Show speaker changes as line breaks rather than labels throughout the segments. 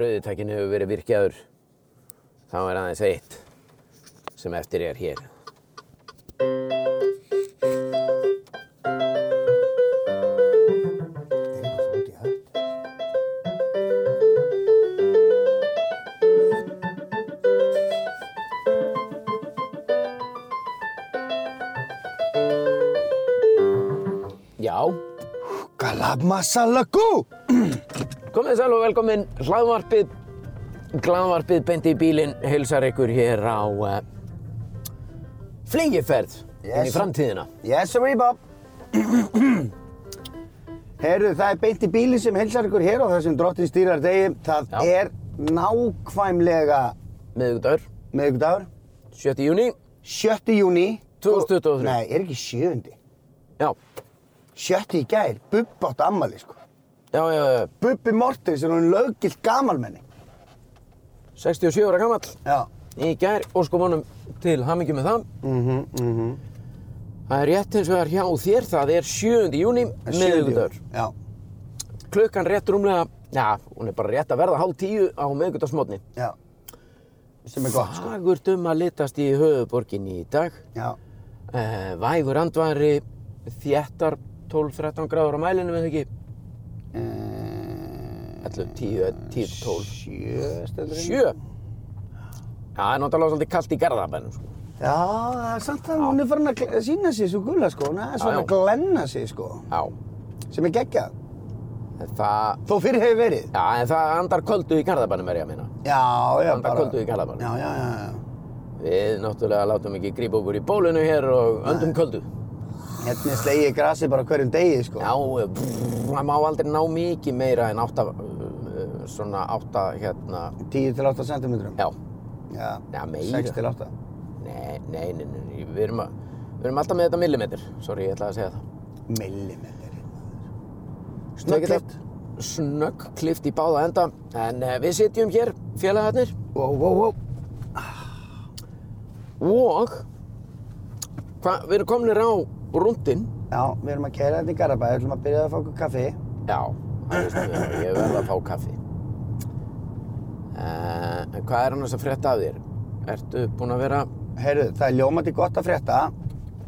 Rauðitakinn hefur verið virkjaður. Þá er aðeins eitt sem eftir er hér.
Einar fór út í hött.
Já,
Galab masala gú!
komið sæl og velkomin hlaðvarpið. Hlaðvarpið bendi í bílinn heilsar ykkur hér á uh, flegiferð inn í
Yes.
framtíðina.
Yes, sorry, Bob. Heyrðu, það er beint í bíli sem helsar ykkur hér á þessum drottin stýrar degi. Það
Já.
er nákvæmlega
Miðugdagur,
meðugdagur,
7. júni.
7. júni.
2023.
Nei, er ekki 7.
Já,
7. í gær, Bubba átt ammali, sko.
já, já, já.
Bubbi Mortens er hún löggilt gamalmenni.
67 ára gamall
Já.
í gær og sko mannum til hamingjum með það.
Mhm, mhm.
Það er rétt eins og það er hjá þér, það er 7. júni,
7.
miðugdagur.
Já.
klukkan rétt rúmlega, já, hún er bara rétt að verða hálf tíu á meðgutasmotni.
Já. Sem er gott, sko.
Fagurt um að litast í höfuborginni í dag.
Já.
Uh, vægur andvari, þéttar 12-13 gráður á mælinu, við ekki? eh,
Uh,
11, 10, 10, 12,
7 stendur hérna.
7. Já, það er náttúrulega svolítið kallt í garðabænum, sko.
Já, það er samt að hún er farin að gl- sýna sig svo gula sko, hún er svona
já.
að glenna sig sko,
Já,
sem er geggjað.
en það,
Þó fyrir hefur verið.
já, en það andar köldu í garðabænum, er ég að minna.
Já, já,
Andar köldu í garðabænum.
Já, já, já, já.
Við náttúrulega látum ekki grípa okkur í bólunu hér og öndum köldu.
Hérna er slegið grasið bara á hverjum degi sko.
Já, brr, það má aldrei ná mikið meira en 8, svona 8, hérna,
10 til 8 cm.
já,
Já,
Já, meira.
6 til 8.
nei, nei, nei, nei, nei, við erum, að, við erum alltaf með þetta millimetr, sorry, ég ætlaði að segja það.
Millimetri.
Snöggklift. Snögg klift í báða enda, en eh, við sitjum hér, félagarnir,
Wow, wow, wow.
og hva, við erum komnir á rúndin,
Já, við erum að kæra þetta í Garabæði, við ætlum að byrja að fá okkur kaffi.
já, það veistu við, ég verð að fá kaffi. Uh, hvað er annars að frétta af þér? Ertu búinn að vera,
Heyrðu, það er ljómandi gott að frétta.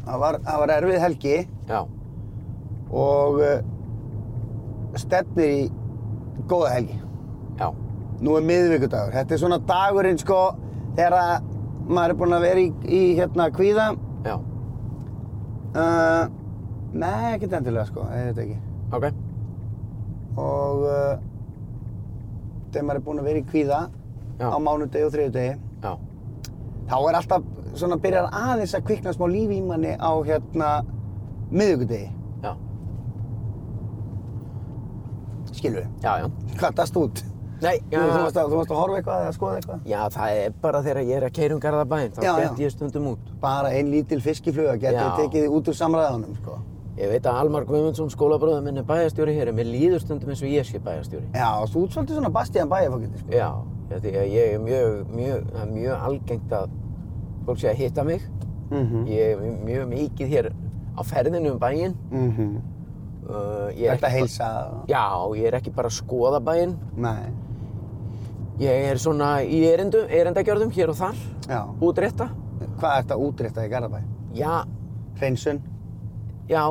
Það var, það var erfið helgi
já,
og uh, stefnir í góða helgi.
já,
Nú er miðvikudagur. Þetta er svona dagurinn sko þegar að maður er búinn að vera í, í hérna kvíða.
já,
Uh, nei, ekkert endilega sko, ég veit ekki.
ok.
Og uh, þegar maður er búinn að vera í kvíða
Já.
á mánudegi og þriðudegi,
Já,
þá er alltaf svona byrjar aðeins að kvikna smá líf í manni á hérna miðvikudegi.
já,
Skilur við?
já, já.
Hvað dast út?
Nei,
Já. Þú, þú, varst að, þú varst að horfa eitthvað eða skoða eitthvað?
já, það er bara þegar ég er að keyra um garðabæn, þá
Já, já.
bett ég stundum út.
Bara ein lítil fiskifluga
Já.
getið tekið þig út úr samræðanum sko.
Ég veit að Almar Guðmundsson, skólabróður minn, er bæjarstjóri hér, en mér líður stundum eins og ég sé bæjarstjóri.
Já, þú ert svolítið svona Bastian bæjarfókiti sko.
Já, já, því að ég er mjög, mjög, það er mjög algengt að fólk sé að hitta mig.
Mm -hmm.
Ég er mjög mikið hér á ferðinu um bæinn.
Mhm.
Uh, ég er
Þetta
ekki
heilsa
bara- Já, ég er ekki bara að skoða bæinn.
Nei
Ég er svona í erindum, erindagjörðum hér og þar,
Já
útrétta.
Hvað ertu að útrétta í Garðabæ?
Já,
Hreinsun
já,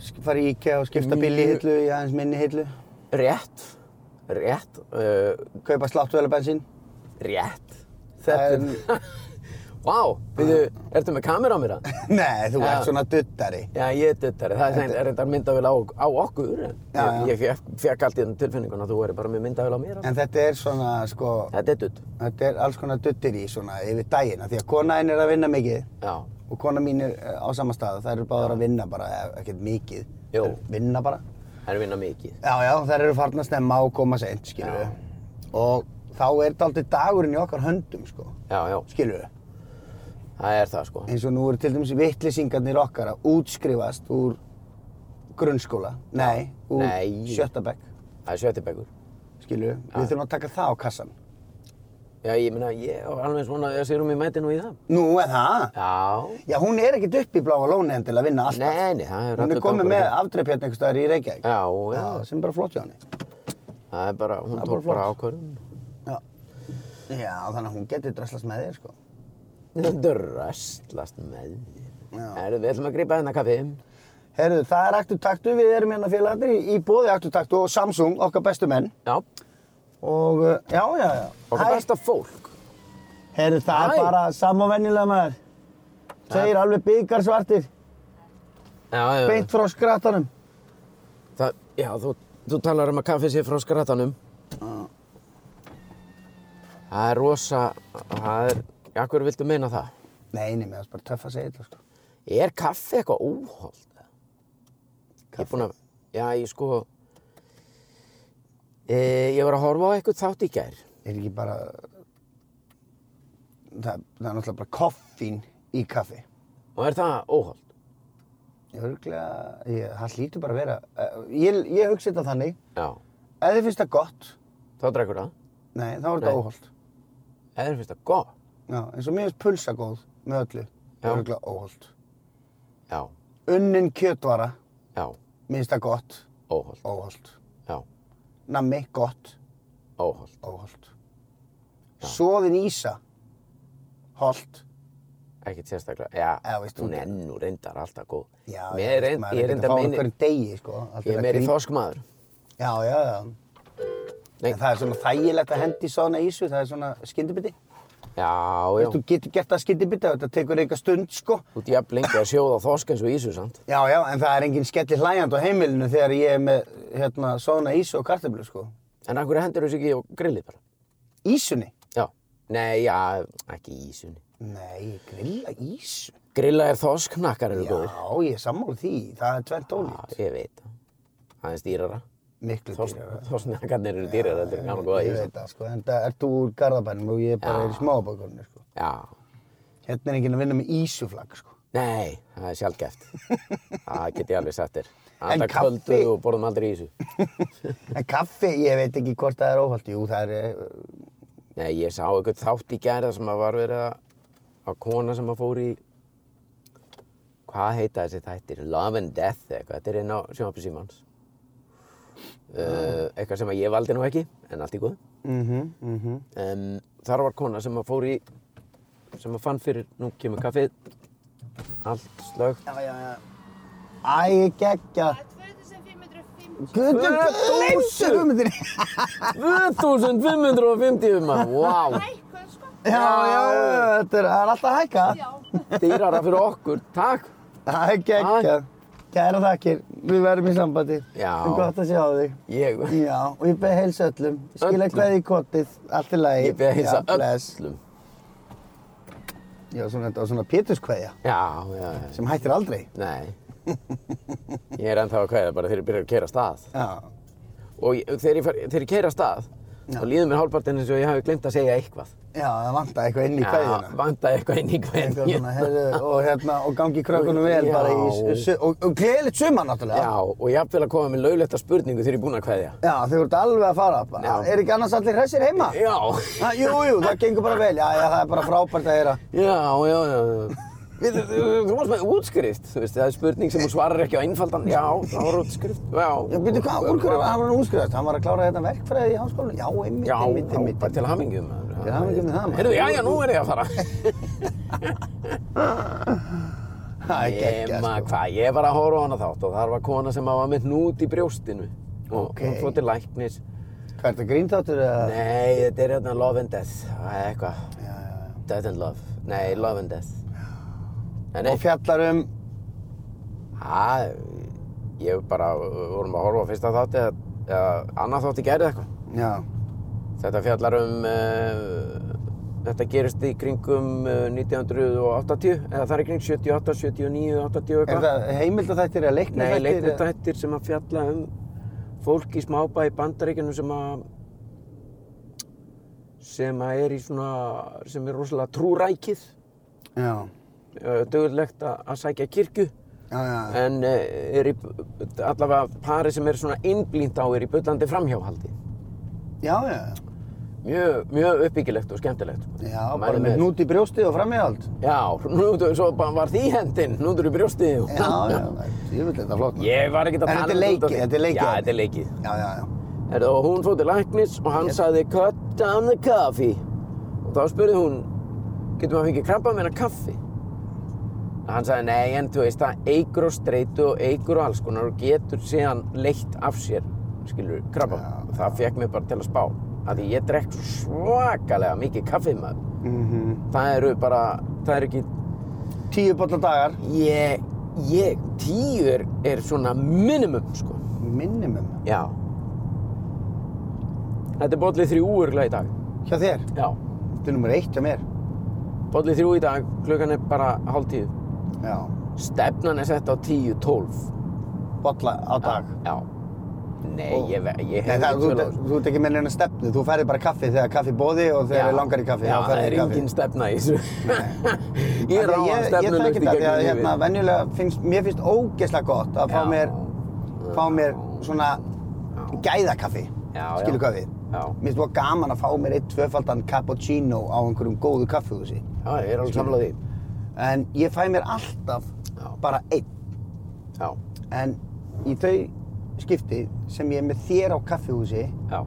sk- Fara í IKEA og skipta billi hillu í aðeins minni hillu
Rétt, rétt, uh,
Kaupa sláttuvelabensín
rétt. Þetta er... Vá, byrju, ertu með kamera á mér að?
Nei, þú
Já.
ert svona duttari
Já, ég er duttari. Það er reynd- er reyndar myndavél á, á okkur. En
Já, já.
Ég, ég fekk allt í þennan tilfinninguna að þú væri bara með myndavél á mér. En...
En þetta er svona sko
Þetta er dutt.
Þetta er alls konar duttir í svona yfir dagina Því að kona einn er að vinna mikið
Já,
Og kona mín er eh, á sama stað Það eru báðar að vinna bara, eh, ekkert mikið
Jú.
Þær Vinna bara
það er að vinna mikið.
Já, já, þær eru farnar að snemma og koma seint, skilur
Já.
við Og þá er þetta aldrei dagurinn í okkar höndum, sko
Já, já,
Skilur við
það er það sko.
eins og nú eru til dæmis vittlisingarnir okkar að útskrifast úr grunnskóla, nei, úr
Nei. Ah.
sjötta bekk,
Það er sjöttibækur.
skilu, við þurfum að taka það á kassan.
Já, ég meina, ég er alveg svona, ég sér um í mæti nú í það.
Nú er það?
Já.
Já, hún er ekkert upp í bláa lóni endilega að vinna alltaf.
Nei, nei, það er
hún
allur
er komið
gangur
með
á
hérna
því.
afdreipjarn einhver staðar í Reykjavík.
Já, já.
sem er bara flott hjá henni.
Það er bara, hún
Það
tók
er bara
bara
flott.
ákvörðun.
Já. Já, þannig að hún getur dröslast með þér, sko.
Þetta er rastlast með þér.
Já.
Herðu, við ætlum að grípa hérna þennan kaffi.
Herðu, það er Aktu Taktu, við erum hérna félagarnir í, í bóði Aktu Taktu og Samsung, okkar bestu menn.
Já,
Og, uh, já, já, já.
okkar
Hæ.
besta fólk.
Herðu, það
Hæ.
er bara samanvennilega maður. Segir alveg byggarsvartir,
Já, já.
beint frá skrattanum.
Það, já, þú, þú talar um að kaffi sé frá skratanum. Ah. Það er rosa, það er, já, hverju viltu meina það?
Nei, nei, mér finnst bara töff að segja þetta, sko.
Er kaffi eitthvað óholt? Ég er búinn að, já, ég sko, e, ég var að horfa á eitthvað þátt í gær.
Er ekki bara... Það, það er náttúrulega bara koffín í kaffi.
Og er það óholt?
Örglega, ég, það hlýtur bara að vera... eh, Ég, ég hugsi þetta þannig,
Já,
ef þið finnst það gott,
þá drekkur það.
nei, þá er þetta
Nei.
óholt.
Eða þér finnst það gott?
Já, eins og mér finnst pulsa góð með öllu,
Já.
örglega óholt.
Já,
Unnin kjötvara,
já,
mér finnst það gott,
óholt,
óholt.
já,
Nammi, gott,
óholt,
óholt. Soðin ísa, holt.
ekkert sérstaklega. Já,
Já, veist,
hún
hún-
er nú reyndar alltaf góð.
Já,
Mér er reynd-
maður
ég er
ekkert að
reyndar
fá
meini-
á hverjum degi, sko. allt
Ég
þetta
er meiri
grín.
þorskmaður.
Já, já, já.
Nei.
En það er svona þægilegt að hendi svona ísu, það er svona skyndibiti.
Já, já.
Þú getur gert það skyndibiti, þetta tekur eitthvað stund sko.
Þú ert jafn lengi að sjóða þorsk eins og ísu, sant?
Já, já, en það er engin skelli hlæjand á heimilinu þegar ég er með hérna, svona ísu og kartöflu sko.
En af hverju hendur þessu ekki á grillið bara?
Ísunni?
Já. Nei, já, ekki í ísunni.
Nei, grilla ísu.
Grilla er þorsk, nakkar eru
Já,
góður.
ég er sammála því, það er tvent ólíkt.
Já, ég veit það. Það er stýrara.
Miklu dýrar.
Þorsknakkarnir eru dýrara, þetta er gaman góða
Ég
ísu.
veit það sko, en það ert þú úr Garðabænum og ég er bara
Já.
er í smáabökunni sko.
Já.
Hérna er enginn að vinna með ísuflagg sko.
Nei, það er sjálfgeft. það get ég alveg sagt þér.
En
Alltaf
kaffi?
köldu og borðum aldrei ísu.
En kaffi, ég veit ekki hvort það er óholt. Jú, það er, eh,
Nei, ég sá eitthvað þátt í gæra sem að var verið að, að kona sem að fór í, hvað heita þessi þættir? Love and Death eða eitthvað, þetta er inn á sjónvarpi Simons. Uh, eitthvað sem að ég valdi nú ekki, en allt í góð.
mhm, mhm.
Um, þar var kona sem að fór í, sem að fann fyrir, nú kemur kaffið, allt slögt.
Já, já, já. Æ, geggja.
Það er 2550.
Guðu, gleymdu
2000.
hugmyndinni.
2550 maður, wow!
Hækkað sko.
Já, já, já, þetta er, það er alltaf að hækka.
Já.
Dýrara fyrir okkur, takk!
Æ, geggja. Kæra þakkir, við verðum í sambandi.
Já.
En Gott að sjá þig.
Ég,
Já, og ég beði heilsa öllum. Skilja
Öllum.
hverði í kotið, allt í lagi.
ég beði að
Já, bless.
hilsa öllum.
Já, svona, þetta var svona péturskveðja
Já, já, já.
sem hættir aldrei.
Nei. Ég er ennþá að kveða bara þegar ég byrjar að keira stað.
Já,
Og ég, þegar, ég fer, þegar ég keira stað,
Já.
þá líður mér hálfpartinn eins og ég hafi glemt að segja eitthvað.
já, það vantaði eitthvað inn í kveðjuna.
vantaði eitthvað inn í
Eitthvað svona,
kveðinu.
heyrðu, og hérna, og gangi krökkunum vel
Já.
bara í, s- s- og, og gleðilegt suma náttúrulega.
Já, og ég hafði að koma með lauletta spurningu þegar ég er búinn að kveðja.
Já, þið voruð alveg að fara. Bara.
Já.
Er ekki annars allir hressir heima?
Já,
Ha, jú, jú, það gengur bara vel. Já, já, það er bara frábært að heyra.
já, já, já. Við, þú varst með útskrift, þú veist, það er spurning sem hún svarar ekki á einfaldan. Já, það var útskrift. Já,
Já, byrju, hvað, úr hverju var hann útskriðast? Hann var að klára þetta verkfræði í háskólanum? Já, einmitt,
Já,
einmitt, einmitt.
bara til hamingjum.
Til hamingju með það, maður.
Heyrðu, já, já, nú er ég að fara.
Það er geggja,
Ema,
sko.
hvað, ég var að horfa á hana þátt og þar var kona sem var með hnút í brjóstinu og
Ok.
okay. hún fór til læknis
Hvað er þetta, gríntáttur eða?
Nei, þetta er hérna Love and Death Það er eitthvað,
Já, já, já.
Death and Love Nei, Love and Death En
Og
nei,
fjallar um,
það ég bara, við vorum að horfa á fyrsta þátti eða, eða annað þátti gerði eitthvað
já,
Þetta fjallar um uh, Þetta gerist í kringum uh, 1980 eða það er í kring 78, 79, 80 eitthvað
er það heimildatættir eða leiknir
Nei, leiknitættir sem að fjalla um fólk í smábæ í bandaríkjunum sem að sem að er í svona sem er rosalega trúrækið
Já,
dögulegt að að sækja kirkju
já, já,
en eh, er í allavega pari sem er svona innblínt á er í bullandi framhjáhaldi
já, já,
mjög, mjög uppbyggilegt og skemmtilegt
já, bara
Mælum
með
með.
hnút í brjósti og framíhald.
Já, nú svo bara var því hendinn núndur í brjóstið og-
Já, já, ég vil þetta flott. maður.
Ég var ekkert að
En
tala
þetta er
um út af
leikið,
því.
þetta er leikið.
Já, þetta er leikið
Já, já, já.
Herðu, og hún fór til læknis og hann sagði cut down the coffee og þá spurði hún getur maður fengið krabba meina kaffi og hann sagði nei en þú veist það eigur og streitu og eigur og alls konar og getur síðan leitt af sér skilur krabba
Já,
og það fekk mér bara til að spá af því ég drekk svo svakalega mikið kaffi maður það eru bara það eru ekki
Mhm. Tíu bolla dagar.
ég, ég, tíu er, er svona minimum sko
Minimum.
Já. Þetta er bollið þrjú úrglega í dag.
Hjá þér.
Já.
Þetta er nummer eitt hjá mér.
Bollið þrjú í dag, klukkan er bara hálf tíu.
Já.
Stefnan er sett á tíu, tólf.
Bolla á dag.
Já. Nei,
Og-
ég, ve- ég
Nei,
hef
það, þú,
tölur.
þú, þú ert ekki með neina stefnu, þú færði bara kaffi þegar kaffi er í bóði og þegar þig langar í kaffi,
Já,
þá
það
færði
er
í kaffi.
engin stefna í þessu.
Af því
ég
að
ráða
Ég
stefnulegt
þekki
í
þetta, því
gegnum
að
lífið.
hérna, venjulega finnst, mér finnst ógeðslega gott að fá
Já.
mér, fá mér svona gæðakaffi,
Já, já.
skilu hvað við.
Já.
Mér finnst það gaman að fá mér eitt tvöfaldan cappuccino á einhverjum góðu kaffihúsi.
Já, ég er alveg samlað því.
En ég fæ mér alltaf
Já.
bara einn.
Já,
En í þau skipti sem ég er með þér á kaffihúsi,
já,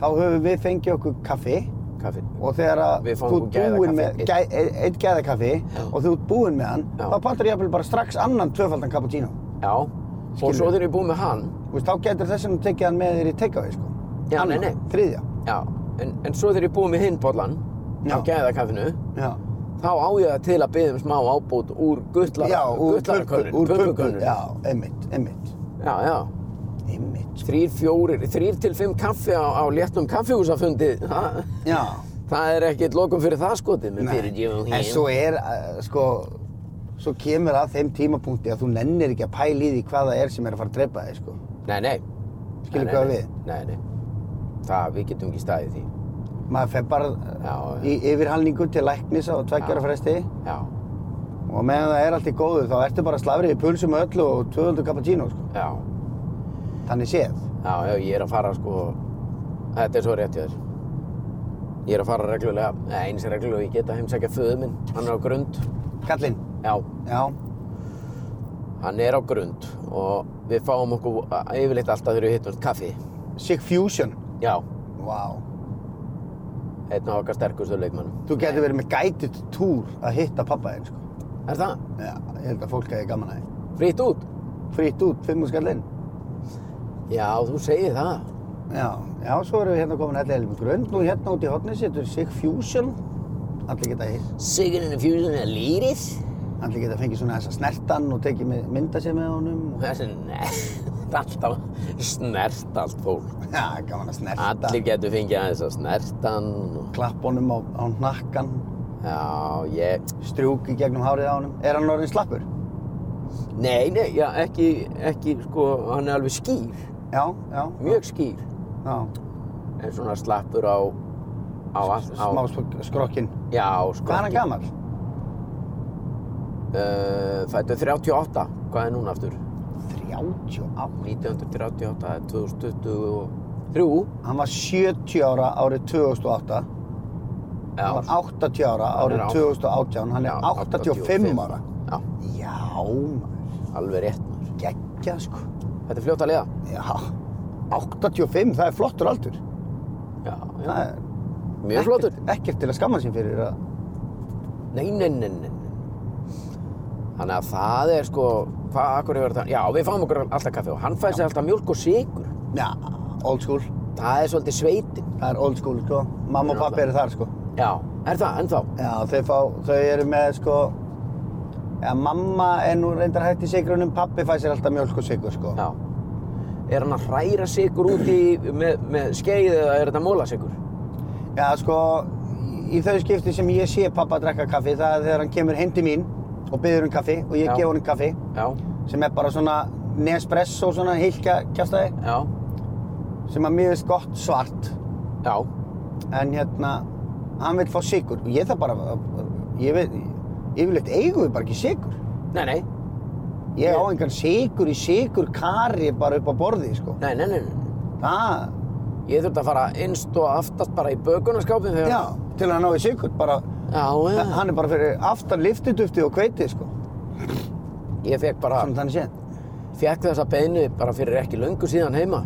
þá höfum við fengið okkur kaffi
kaffin.
og þegar að
Við fáum
þú
okkur
ert búinn
gæðakaffi,
með
einn.
gæ, eitt gæðakaffi
Já.
og þú ert búinn með hann,
Já.
þá pantar ég jafnvel bara strax annan tvöfaldan cappuccino.
Já, og
Skilur.
svo þegar ég er búinn með hann,
Þú veist, þá getur þess að tekið hann með þér í takeaway, sko.
Já, nei,
Annan,
nei.
Þriðja.
já, en, en svo þegar ég er búinn með hinn bollan,
Já.
af gæðakaffinu,
Já.
þá á ég það til að biðja um smá ábót úr gullara,
já, úr
gullarakönnun,
úr pökkun.
pubkönnun.
Já, einmitt, einmitt.
já, já.
Einmitt, sko.
Þrýr, fjórir, þrýr til fimm kaffi á, á léttum kaffihúsafundi, það,
Já.
það er ekkert lokum fyrir það skotið, menn
Nei.
fyrir ég og
En svo er, eh, sko, svo kemur að þeim tímapunkti að þú nennir ekki að pæla í því hvað það er sem er að fara að drepa þig, sko.
Nei, nei.
Skilur
Nei,
hvað
nei,
við?
Nei, nei. Það, við getum ekki staðið í því.
Maður fer bara eh,
Já,
í yfirhalningu til læknis á tveggjara
Já.
fresti
já,
og meðan það er allt í góðu þá ertu bara slafrið í pulsum með öllu og 200 cappuccino, sko.
já,
Þannig séð.
já, já, ég er að fara sko, þetta er svo rétt hjá þér. Ég er að fara reglulega, eða eins reglulega, ég get að heimsækja föðu minn, hann er á grund,
Kallinn.
já.
Já.
Hann er á grund og við fáum okkur yfirleitt alltaf þegar við hittum kaffi.
Sick Fusion.
Já,
Vá.
einn af okkar sterkustu leikmannum.
Þú getur verið með guided túr að hitta pappa þinn, sko.
Er það?
Já, ég held að fólk hefði gaman að þið.
Frýtt út?
Frýtt út, fimm úr skallinn.
Já, þú segir það.
Já, já, svo erum við hérna komin allir með grönd og hérna út í hotni setur Sig Fusion. Allir geta,
Sigurinn in Fusion er lýrið.
allir geta fengið svona þessa snertan og tekið með, mynda sér með honum.
Þessi
Og...
nert alltaf, snert allt fólk.
Já, gaman að snerta.
Allir getur fengið aðeins að snerta hann. og-
Klapp honum á, á hnakkan,
Já, ég...
strjúk í gegnum hárið á honum. Er hann orðinn slappur?
Nei, nei, já, ekki, ekki, sko, hann er alveg skýr.
Já, já,
Mjög skýr.
já.
En svona slappur á... Á allt, á...
Smá sk- skrokkinn.
Já, sko.
Hvað er hann gamall?
Uh, fættu 38, hvað er núna aftur?
38.
1938, það er 2023
Hann var 70 ára árið 2008.
Já,
Hann var 80 ára
er
árið
átt-
2018. Hann er
Já,
85 ára.
já,
Já, maður.
alveg rétt maður.
Gekkja, sko.
Þetta er fljótt að liða
Já. 85, það er flottur aldur.
Já, já,
Það er
mjög flottur
Ekkert, ekkert til að skamma sér fyrir að...
Nei, nei, nei, nei, nei Þannig að það er sko Hvað, akkur hefur þetta Já, við fáum okkur alltaf kaffi og hann fæði sér alltaf mjölk og sigur
Já, old school.
Það er svolítið sveitin
Það er old school, sko. Mamma og pappi eru þar, sko.
Já, er það, ennþá
Já, þau, fá, þau eru með, sko... Já, mamma er nú reyndar hætt í sigrunum, pappi fæ sér alltaf mjölk og sigur, sko.
Já Er hann að hræra sigur út í með, með skeið eða er þetta móla sigur?
Já, sko, í þau skipti sem ég sé pappa að drekka kaffi, það er þegar hann kemur heim til mín og byður um kaffi og ég
Já.
gef honum kaffi
Já,
sem er bara svona Nespresso, svona hilkja kjastæði
já,
sem að mér veist gott svart
já
en hérna, hann vil fá sigur og ég þarf bara, að- ég veit, yfirleitt eigum við bara ekki sigur
Nei, nei,
ég á engan sigur í sigur kari bara upp á borði, sko
nei, nei, nei, nei.
það,
Ég þurfti að fara innst og aftast bara í bökunaskápin þegar...
já, til að hann ná í sigur bara,
Já, já.
hann er bara fyrir aftan liftidufti og hveiti, sko
Ég fekk bara,
sem þannig séð
fekk þessa beinu bara fyrir ekki löngu síðan heima.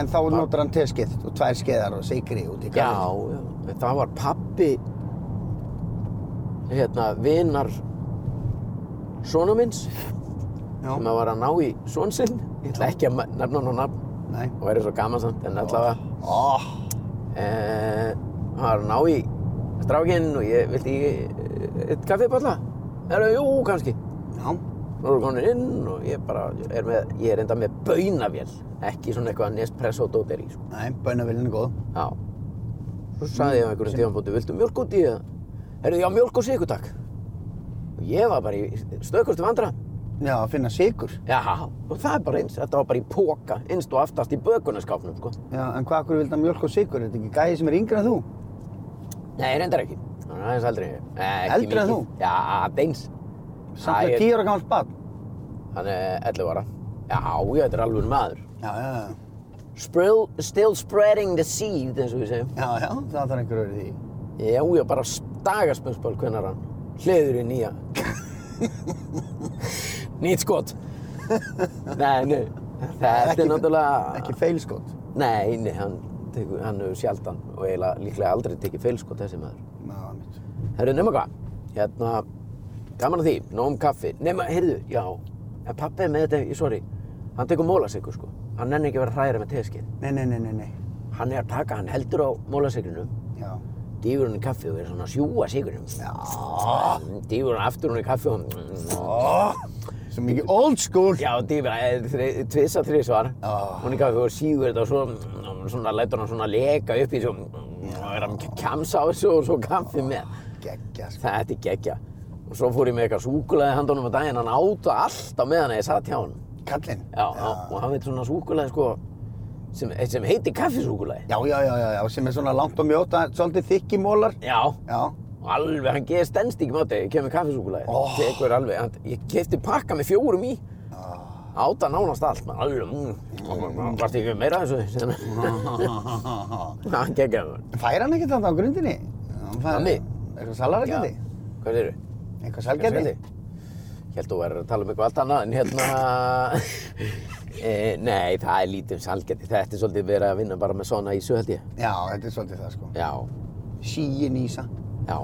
En þá notar hann teskeið og tvær skeiðar og sigri út í
Já,
kaffið.
já, en það var pappi hérna, vinar svona minns sem að var að ná í svon sinn ég ætla ekki að ma- nefna hann á nafn
Nei. Ah.
og verið svo gaman samt en allavega
Ó,
eh, hann var að ná í strákinn og ég vildi ekki eh, eitt kaffiballa er það, jú, kannski
já.
Nú erum komin inn og ég bara er með, ég er enda með baunavél ekki svona eitthvað Nespresso dóteri sko.
Nei, bænavillin er góð.
Já. Svo sagði ég á einhverjum tímanbóti, viltu mjölk út í það? Herðu, já, mjölk og sigur, takk. Og ég var bara í stökustu vandra.
Já, að finna sigur.
Já, og það er bara eins. Þetta var bara í póka, innst og aftast í bökunaskápnum, sko.
Já, en hvað okkur vildi hann mjölk og sigur? Er þetta ekki gæði sem er yngri en þú?
Nei, reyndar ekki. Það er aðeins eldri. en ég. Eh, ekki
Eldri en
mikið.
þú?
Já, aðeins.
Samt
Æ,
með
ég-
10 ára gamalt barn.
Hann er 11 ára. Já, já, þetta er alveg maður.
Já, já, já.
Sprill, still spreading the seed, eins og við segjum.
Já, já, það þarf einhver öðru í því.
Já, já, bara dagaspensból hvenar hann. Hleður í nýja. Nýtt skot. nei, nei. Þetta
Ekki-
er náttúrulega...
Ekki feilskot.
Nei, nei, hann, tekur, hann hefur sjaldan og eiginlega líklega aldrei tekið feilskot þessi maður.
Já, mitt.
Herru, nema hvað? Hérna, gaman að því, nóg um kaffi. Nema, heyrðu, já, en pappi er með þetta, ég sorry, hann tekur mólasykur, sko. Hann nenni ekki að vera hræðir með teskið.
Nei, nei, nei, nei, nei.
Hann er að taka, hann heldur á mólasykrinu,
Já.
dýfur hann í kaffi og er svona að sjúga sykrinum.
Já.
Dýfur hann aftur hann í kaffi og...
Ó, svo mikið old school.
Já, dýfur eh, hann tvisa þrísvar.
Ah.
Hún í kaffi og sígur þetta og svo, svona lætur hann svona leka upp í svo... Og er hann kjamsa á þessu og svo kaffi með.
Geggja, sko.
Þetta er geggja. Og svo fór ég með eitthvað súkulaði handunum á daginn. Hann áta alltaf meðan ég satt hjá hann.
Kallinn.
Já, já. og hann veit svona súkulaði sko sem, sem heitir kaffisúkulaði.
Já, já, já, já, já, sem er svona langt og mjótt, það er svolítið þykki mólar.
Já,
Já.
Og Alveg, hann geði stennst ekki mátti, ég kemur kaffisúkulega.
Oh.
Tekur alveg, hann, ég kefti pakka með fjórum í. Áta nánast allt, maður alveg, Ah. mm, varst ekki meira af þessu. Hann geggjaði maður.
Fær hann ekkert þarna á grundinni? Hann fær-
Nammi?
Eitthvað salarækjandi?
Hvað séru?
Eitthvað salgæti?
Ég held að þú verður að tala um eitthvað allt annað, en hérna... e, nei, það er lítið um salgeti. Þetta er svolítið verið að vinna bara með svona ísu, held ég.
Já, þetta er svolítið það, sko.
Já,
Síin ísa.
já.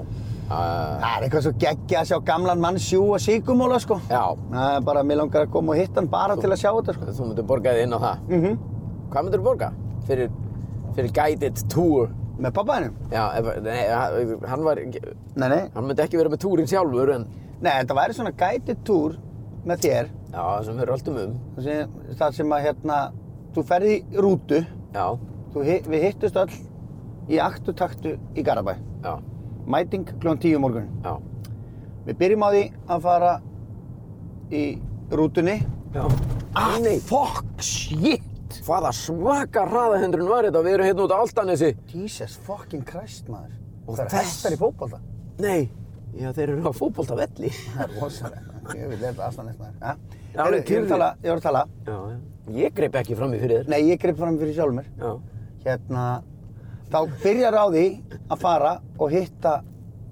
Uh,
Það er eitthvað svo geggja að sjá gamlan mann sjúa síkumóla, sko.
já,
Það er bara, mér langar að koma og hitta hann bara til að sjá þetta, sko.
þú myndir borgaði inn á það.
Mhm.
Hvað myndir þú borga? Fyrir, fyrir guided tour
Með pappaðinum?
Já, ef, nei, ha- hann var
Nei, nei.
hann myndi ekki vera með túrin sjálfur en
Nei, þetta væri svona guided tour með þér.
já, sem verður alltaf um
Það sem, það sem að, hérna, þú ferði í rútu.
já,
Þú, hi- við hittust öll í aktu taktu í Garabæ.
já,
Mæting kl. 10 morgun.
já
Við byrjum á því að fara í rútunni.
já, nei,
Ah, fuck, shit!
hvaða svaka hraðahundrun var þetta, við erum hérna út á Altanesi
Jesus fucking Christ, maður.
Og
það eru
þess-
hestar í fótbolta.
nei, já, þeir eru á fótboltavelli
Það er rosalega. Ég vil leta aðstæðanist maður. Ja?
Já,
Heyrðu,
við
ég,
kyrrðum.
var tala, ég var að tala.
já, já, ég greip ekki fram í fyrir þér
Nei, ég grip fram fyrir sjálf mér.
já,
Hérna, þá byrjar á því að fara og hitta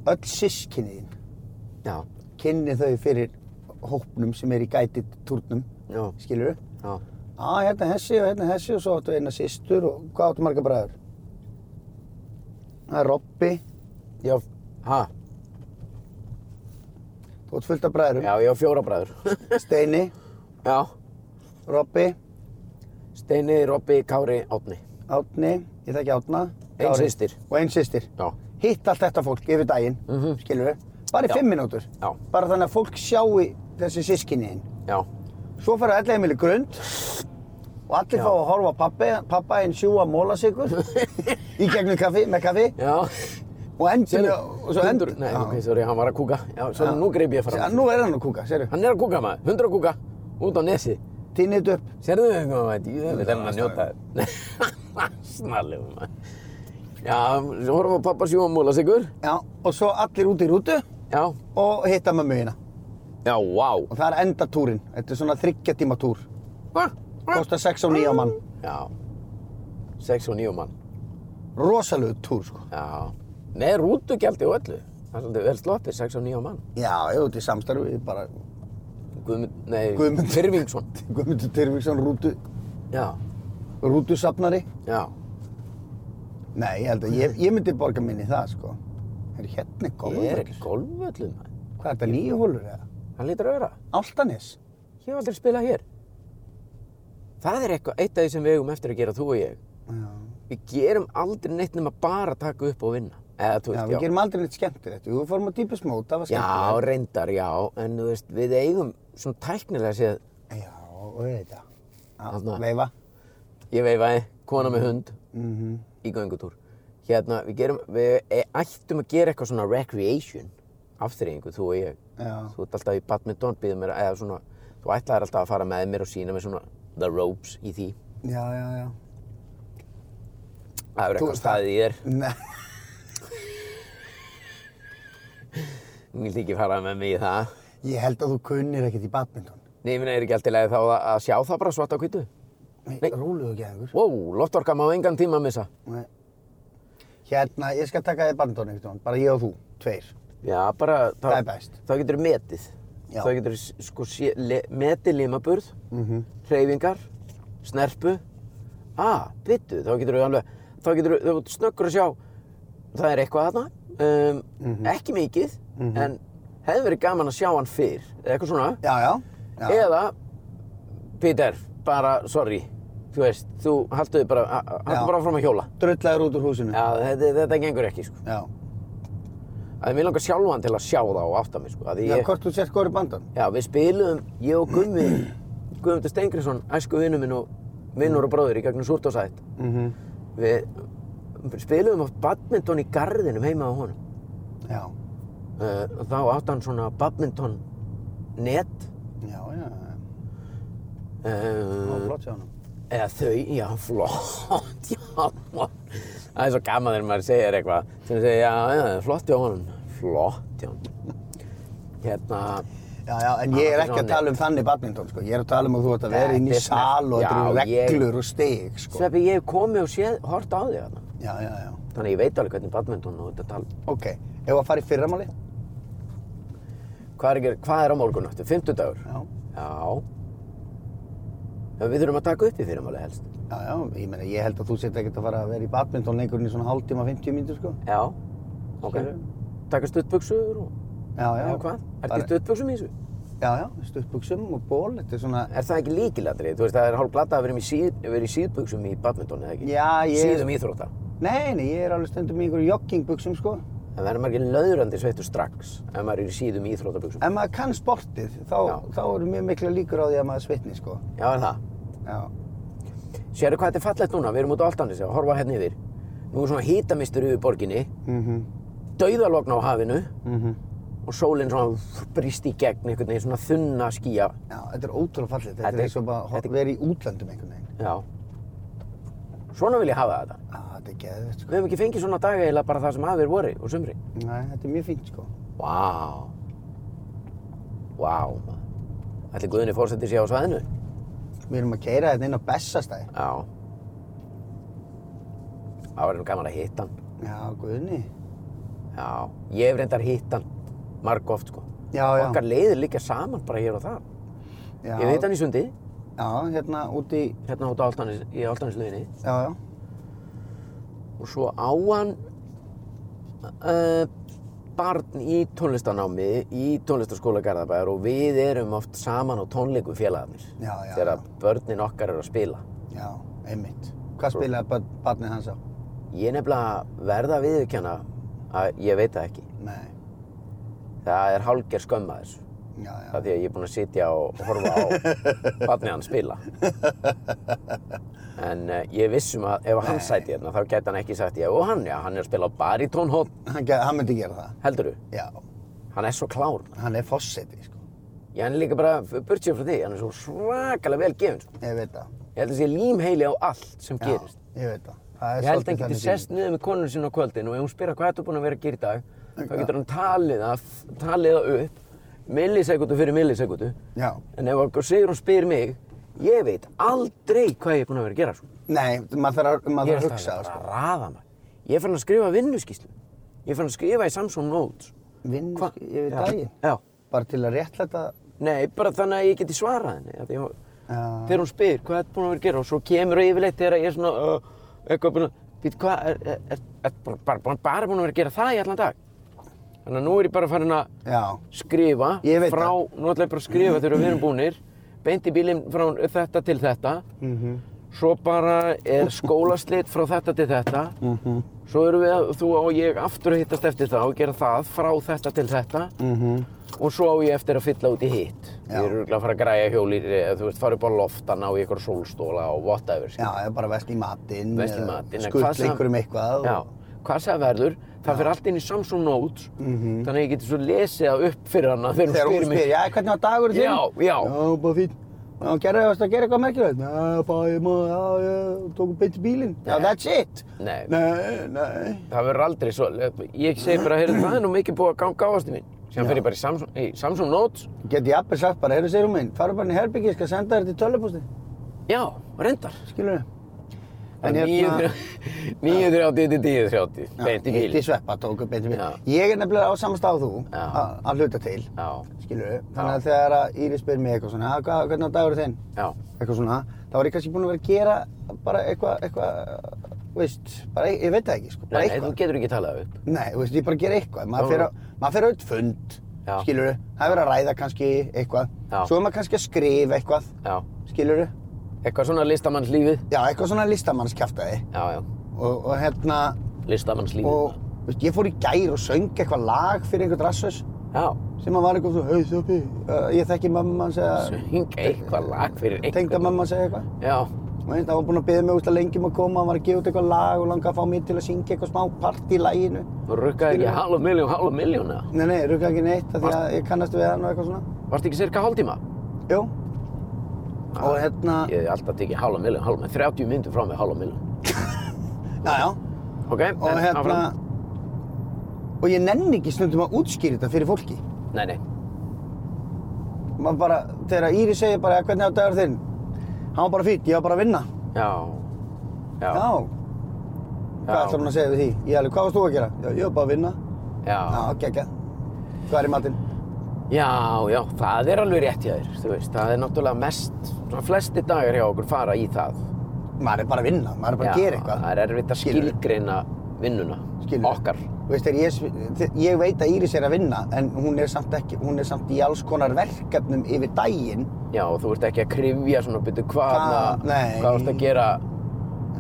öll sískinniðin.
já,
Kynni þau fyrir hópnum sem er í gætið turnum,
já,
skilur þau?
já
Já, hérna hessi og hérna hessi og svo áttu eina systur og hvað áttu marga bræður? Það er Robby,
já, ha,
þú átt fullt af bræðurum.
já, ég á fjóra bræður
Steini,
já,
Robby,
Steini, Robby, Kári, Átni
Átni, ég þekki Átna.
Ein
Kári.
systir.
Og einn systir.
já,
Hitt allt þetta fólk yfir daginn, mm
Mhm.
skilur við? Bara í
Já.
fimm mínútur.
Já.
Bara þannig að fólk sjáu þessi sískinniðin.
já,
Svo fara öll heimili grund og allir
Já.
fá að horfa á pappi, pappa einn sjúa mólasikur í gegnum kaffi, með kaffi
já
og endur
Sérðu,
og svo endur.
Nei, ok, sorry, hann var að kúka Já, svo nú greip ég fram í
Sér, nú er hann að kúka, sérðu.
Hann er að kúka maður, hundra að kúka, út á nesi.
Týnir þetta upp.
Serðu þau eitthvað maður, ég vil enn að njóta þér. Snarlegum maður. Já, svo horfum við á pappa sjúa múla sigur.
Já, og svo allir út í rútu
Já,
og hitta mömmu hérna.
já, vá.
Og það er enda túrin. Þetta er svona þryggja tíma túr.
Hva?
Kostar 6 og 9 á mann.
Já, sex og níu mann,
Rosalegu túr, sko.
já. Með rútugjaldi og öllu. Það er svolítið vel sloppið, sex og níu mann.
Já, ég út í samstarfi, ég bara...
Guðmund, nei,
Guðmund.
Fyrvingsson.
Guðmundur Tyrfingsson rútu.
Já,
rútusafnari.
Já.
Nei, ég held að ég, ég myndi borga minni það, sko. Er hérna er
Ég er ekki
golfvöllur?
golfvöllum, maður.
Hvað er þetta, nýju hólur eða?
Það lítur að vera.
Áltanis?
Ég hef aldrei spilað hér. Það er eitthvað, eitt af því sem við eigum eftir að gera þú og ég.
Já.
Við gerum aldrei neitt nema bara að taka upp og vinna. Eða, þú
Já,
veist,
við gerum aldrei neitt skemmtilegt. Við fórum á dýpismót, það var
Já,
skemmtilegt.
reyndar, já, en þú veist, við eigum svona tæknilega séð,
Já, já, auðvitað.
Þarna.
Já, Veifa.
ég veifaði, kona með hund
Mm
í göngutúr. Hérna, við gerum, við e, ættum að gera eitthvað svona recreation afþreyingu, þú og ég.
Já.
Þú ert alltaf í badminton, býðum mér, að- eða svona, þú ætlaðir alltaf að fara með mér og sína mér svona the ropes í því.
Já, já, já.
Það er
Þú-
eitthvað staðið í þér,
Nei,
þú vilt ekki fara með mig í það.
ég held að þú kunnir ekkert í badminton.
Nei, ég finna, er ekki alltaf leið þá að að sjá það bara svart á kvítu.
Nei,
Nei.
róluðu ekki einhver.
Wow, loftorka má engan tíma missa.
Nei. Hérna, ég skal taka þig badminton einhvern veginn, bara ég og þú, tveir.
Já, bara...
Það er best.
Þá getur þú metið.
Já.
Þá getur þú sko sé, le, metið limaburð,
Mhm.
hreyfingar, snerpu. Ah, byttu, þá getur þú alveg... Þá getur þú þú ert snöggur að sjá, það er eitthvað þarna, um,
Mhm.
ekki mikið, en hefði verið gaman að sjá hann fyrr, eða eitthvað svona.
Já, já. já.
Eða, Peter, bara, sorry, þú veist, þú haldu þig bara, a- a-
Já. Mm.
haldu bara áfram að hjóla.
Drullaður út úr húsinu.
Já, þetta, þetta gengur ekki, sko.
Já.
Það er mér langar sjálfan til að sjá það og átta mig, sko. af því
Já,
ég-
hvort þú sért góður í bandon?
Já, við spiluðum, ég og Gummi, Guðmundur Stengriðsson, æsku vinnu minn og vinnur og bróður í gegnum Súrtósætt.
Mm -hmm.
Við spiluðum á badminton í garðinum heima á honum.
Já.
Uh, og þá átti hann svona badminton net,
Já, já. Það var
uh,
flott hjá honum.
eða þau, já, flott, já, man. það er svo gaman þegar maður segir eitthvað, sem segir, já, já, það er flott hjá honum, flott hjá honum. Hérna,
Já, já, en ég er
Hann átti
ekki að
svona
tala um þannig badminton, sko. Ég er að tala um að þú ætti að vera
Þetta
inn í
er snert.
sal og
Já,
þetta eru
ég-
reglur og stig, sko.
Sveppi, ég hef komið og séð, hort á þig þarna.
Já, já, já.
Þannig að ég veit alveg hvernig badminton og þetta tala.
Ok, ef að fara í fyrramáli?
Hvað er, ekki- hvað er á morgun áttu? Fymtudagur?
Já.
Já. En Við þurfum að taka upp í fyrirmáli helst.
Já, já, ég meina, ég held að þú sért ekkert að fara að vera í badminton leikurinn í svona hálftíma, 50 mínútur, sko.
Já. Ok.
Skilurðu?
Taka stuttbuxur og...
Já, já.
Já, hvað? Er
Bara-
þetta stuttbuxum í þessu?
Já, já, stuttbuxum og ból, þetta er svona...
Er það ekki líkiladrið? Þú veist, það er hálf glata að vera, í síð, vera í síðbuxum í badminton, eða ekki?
Já, ég-
Síðum íþrótta.
Nei, nei, ég er alveg stundum í einhverju joggingbuxum, sko.
En verður maður ekki löðrandi sveittur strax ef maður er í síðum íþróttabuxum?
Ef maður kann sportið, þá,
Já.
þá eru mjög mikla líkur á því að maður svitni, sko.
Já, er það.
Já.
Sérðu hvað þetta er fallegt núna? Við erum út á Altanis og horfa hérna yfir. Nú er svona hítamistur yfir borginni,
Mhm,
dauðalogn á hafinu
mhm.
og sólinn svona brist í gegn einhvern veginn, svona þunna skýja.
Já, þetta er ótrúlega fallið. Þetta,
Þetta er-
er eins og bara
þetta
að
er-
vera í útlöndum einhvern veginn.
Já. Svona vil ég hafa þetta.
Já, þetta er geðvett, sko.
Við hefum ekki fengið svona daga eiginlega bara það sem hafið voru og sumri.
Nei, þetta er mjög fínt, sko.
Vá. Vá, maður. Ætli Guðni fórsetið sér á svæðinu?
Við erum að keira þetta inn á Bessastæði.
Já. Það var nú gaman að hitta hann.
Já, guðni.
Já. Ég hef reyndar hitt hann. Marg oft, sko.
Já, já.
Okkar leiðir líka saman bara hér og þar.
Já,
Ég veit hann í sundi,
Já, hérna úti í...
hérna út á Altanis, í Altanisluðinni.
Já, já.
og svo á hann uh, barn í tónlistanámi í tónlistaskóla Garðabæðar og við erum oft saman á tónleikum félagarnir
Já, já,
þegar
já.
að börnin okkar eru að spila
Já, einmitt. Hvað spilaði bad, badnið hans á?
ég nefnilega verða að viðurkenna að ég veit það ekki
Nei.
það er hálger skömm að þessu
Já, já.
það er því að ég er búinn að sitja og horfa á barnið hann spila en uh, ég vissum að ef hann sæti hérna þá gæti hann ekki sagt ég og hann, já, hann er að spila á baritónhótt
Hann, ge- hann myndi gera það.
heldur
Já.
hann er svo klár
Hann er fossetti, sko.
Já, hann er líka bara, burt sér frá því, hann er svo svakalega vel gefinn, sko.
Ég veit það.
Ég held að sé límheili á allt sem gerist.
Já, ég veit það. það er
Ég held að
svolítið
hann geti
þannig
sest
tími.
niður með konunum sinna á kvöldin og ef hún spyrir hvað ertu búin að vera að gera í dag, þá
Já.
getur hann talið það, talið það upp millisekundu fyrir millisekundu.
Já.
En ef okkur segir hún spyr mig, ég veit aldrei hvað ég er búin að vera að gera, sko.
Nei, maður þarf að, maður
Ég
þarf
er
að hugsa
alltaf
það,
bara
sko.
að raða maður. Ég er fann að skrifa vinnuskýslu. Ég er fann að skrifa í Samsung Notes.
Vinn sko,
Hva-
yfir
Já.
daginn.
Já.
Bara til að réttlæta
Nei, bara þannig að ég geti svarað henni. af því Ég,
Já.
þegar hún spyr hvað er búin að vera að gera og svo kemur það yfirleitt þegar ég er svona uh, eitthvað búin að být hvað er, er, er, er bara, bara, bara, bara búin að vera að gera það í allan dag þannig að nú er ég bara farin að
Já.
skrifa
Ég veit
frá,
það.
nú ætla ég bara að skrifa þegar við erum búnir beint í bílinn frá þetta til þetta
Mhm.
svo bara er skólaslit frá þetta til þetta
Mhm.
svo erum við, að- þú og ég aftur að hittast eftir það og gera það frá þetta til þetta
Mhm.
og svo á ég eftir að fylla út í hitt
Já.
ég er örugglega að fara að græja hjólir þú veist, fara upp á loftan á ykkur sólstóla og whatever skilur.
Já, eða bara vesla í matinn.
Vesla í
eða
matinn, eða hvað
Skuttla
sem-
einhverjum eitthvað.
Já, hvað sem það verður, það fyrir allt inn í Samsung Notes þannig að ég geti svo lesið það upp fyrir hana þegar,
Mhm. Þegar hún spyr, já, hvernig var dagur þinn?
Já, já.
Já, bara fín. Já, gerði það, varstu að gera eitthvað merkilegt? Já, bara, ég maður, já, ég tók beint í bílinn. Já,
Nei.
that's it.
Nei.
Nei, nei.
Það verður aldrei svo, ég segi bara, heyrðu, það er nú mikið búið að ganga á ástu mín síðan
Já.
fyrir ég bara í Samsung, í Samsung Notes
Geti ég appið sagt bara, heyrðu sér um minn, farðu bara inn í herbyggi, ég skal senda þér til tölvupústi.
Já, reyndar
Skilur þið? En
Það er
hérna-
930 til 1030, beint í
Hitti
bíl
sveppa, tóku beint í bíl.
Já.
Ég er nefnilega á samstáð þú,
Já.
að að hluta til.
Já,
Skilur Þannig að þegar að Íris spyr mig eitthvað svona, "Ah, hvað- hvernig var dagur þinn?
já,
eitthvað svona, þá var ég kannski búinn að vera að gera bara eitthvað, eitthvað, veist, bara, ég, ég veit það ekki, sko, bara
nei, nei, þú
eitthvað.
getur ekki talað upp
Nei, þú veist, ég bara gera eitthvað, maður
Já.
fer á, maður fer á eitt fund,
Já.
skilurðu, það er verið að ræða kannski eitthvað,
Já.
svo er maður kannski að skrifa eitthvað,
Já,
skilurðu,
eitthvað svona listamannslífið
já, eitthvað svona listamannskjaftaði
Já, já,
og, og hérna,
listamannslífið
og, veist, ég fór í gær og söng eitthvað lag fyrir einhvern rassus
Já,
sem að var eitthvað svona, hei þjópi, uh, ég þekki mamma hans eða
söng eitthvað lag fyrir einhvern
tengda mamma hans eða eitthvað.
Já,
Og hérna, hann var búinn að byggja mig úrslag lengi um að koma, hann var að gefa út eitthvað lag og langa að fá mér til að syngja eitthvað smá part í laginu.
og rukkaði ekki
Skilurðu?
halv miljón, halv miljón eða
Nei, nei, rukkaði ekki neitt af því að ég kannast við hann og eitthvað svona.
Varst ekki cirka hálftíma?
Jú. Og hérna,
Ah, Ég hef alltaf tekið halv miljón, halv miljón, 30 myndur frá mig halv miljón
já, já,
Ok,
og hérna,
áfram.
og ég nenni ekki stundum að útskýra þetta fyrir fólki.
Nei, nei,
Maður bara, þegar Íri segir bara, hvernig á dagur þinn? Hann var bara fýtt, ég var bara að vinna.
já Já,
Já. Hvað
Já.
ætlar hún að segja við því? Ég alveg, hvað varst þú að gera? Já, ég var bara að vinna. Já,
já,
geggjað. Hvað er í matinn?
já, já, það er alveg rétt hjá þér, þú veist, það er náttúrulega mest, svona flesti dagar hjá okkur fara í það.
Maður er bara að vinna, maður er bara að gera eitthvað.
Það er erfitt að
Skilurðu?
skilgreina vinnuna,
Skilurðu?
okkar.
Þú Veist, þegar ég, sv- ég veit að Íris er að vinna en hún er samt, ekki, hún er samt í alls konar verkefnum yfir daginn
Já, og þú ert ekki að krifja svona, byrju, hvað,
Hvað?
hvað,
Nei.
hvað ert að gera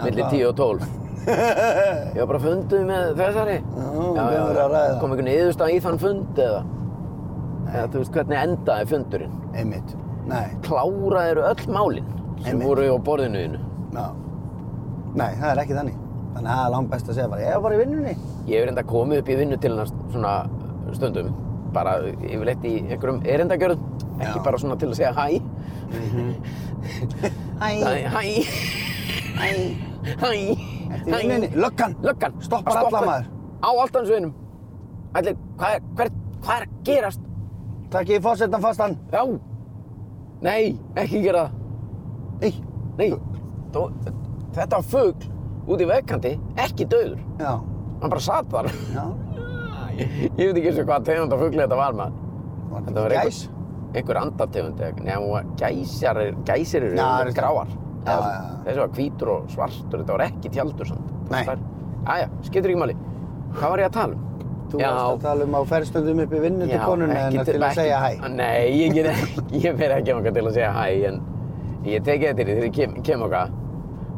millir
hvað?
10 og 12? Ég var bara funduð með þessari.
hvað voru að ræða?
Kom einhvern niðurstað í þann fund eða? Eða þú veist hvernig endaði fundurinn?
einmitt nei,
Kláraðir öll málinn sem
Einmitt.
voru á borðinu þínu?
ná. nei, það er ekki þannig þannig að það er langt best að segja bara ég er bara í vinnunni
Ég hef reynda komið upp í vinnu til hennar svona stundum bara yfirleitt í einhverjum erindagjörðum ekki
Já.
bara svona til að segja hæ
Hæ,
Nei, hæ,
hæ,
hæ,
Ertu í vinnunni? Löggan.
Löggan
Stoppar
Hann
alla,
stoppar
maður.
Á altansveginum Ætli, hvað er, hver, hvað er að gerast?
takk ég fórsetan fastan
Já Nei, ekki gera það
Í.
Nei, Þó, þetta var fugl út í vegkanti, ekki döður
já,
Hann bara sat þar
já
Ég veit ekki eins og hvað tegunda fugli þetta var maður
Var
Þetta var
ekki
einhver, einhver andategund eða eitthvað, nema hún var- gæsjar, er- gæsir eru
Já, það
já,
eru
gráar.
Já,
Eða
já,
svona.
já.
Þessi var hvítur og svartur, þetta var ekki tjaldur samt.
Nei.
Æja, skiptir ekki máli. Hvað var ég að tala um?
þú varst að tala um á ferstundum upp í vinnu til
já,
konuna
ekki
en til að
ekki-
segja hæ
Nei, ég, get, ekki- ég fer ekki okkar til að segja hæ, en ég tekið þetta í því þegar ég kem, kem okkar.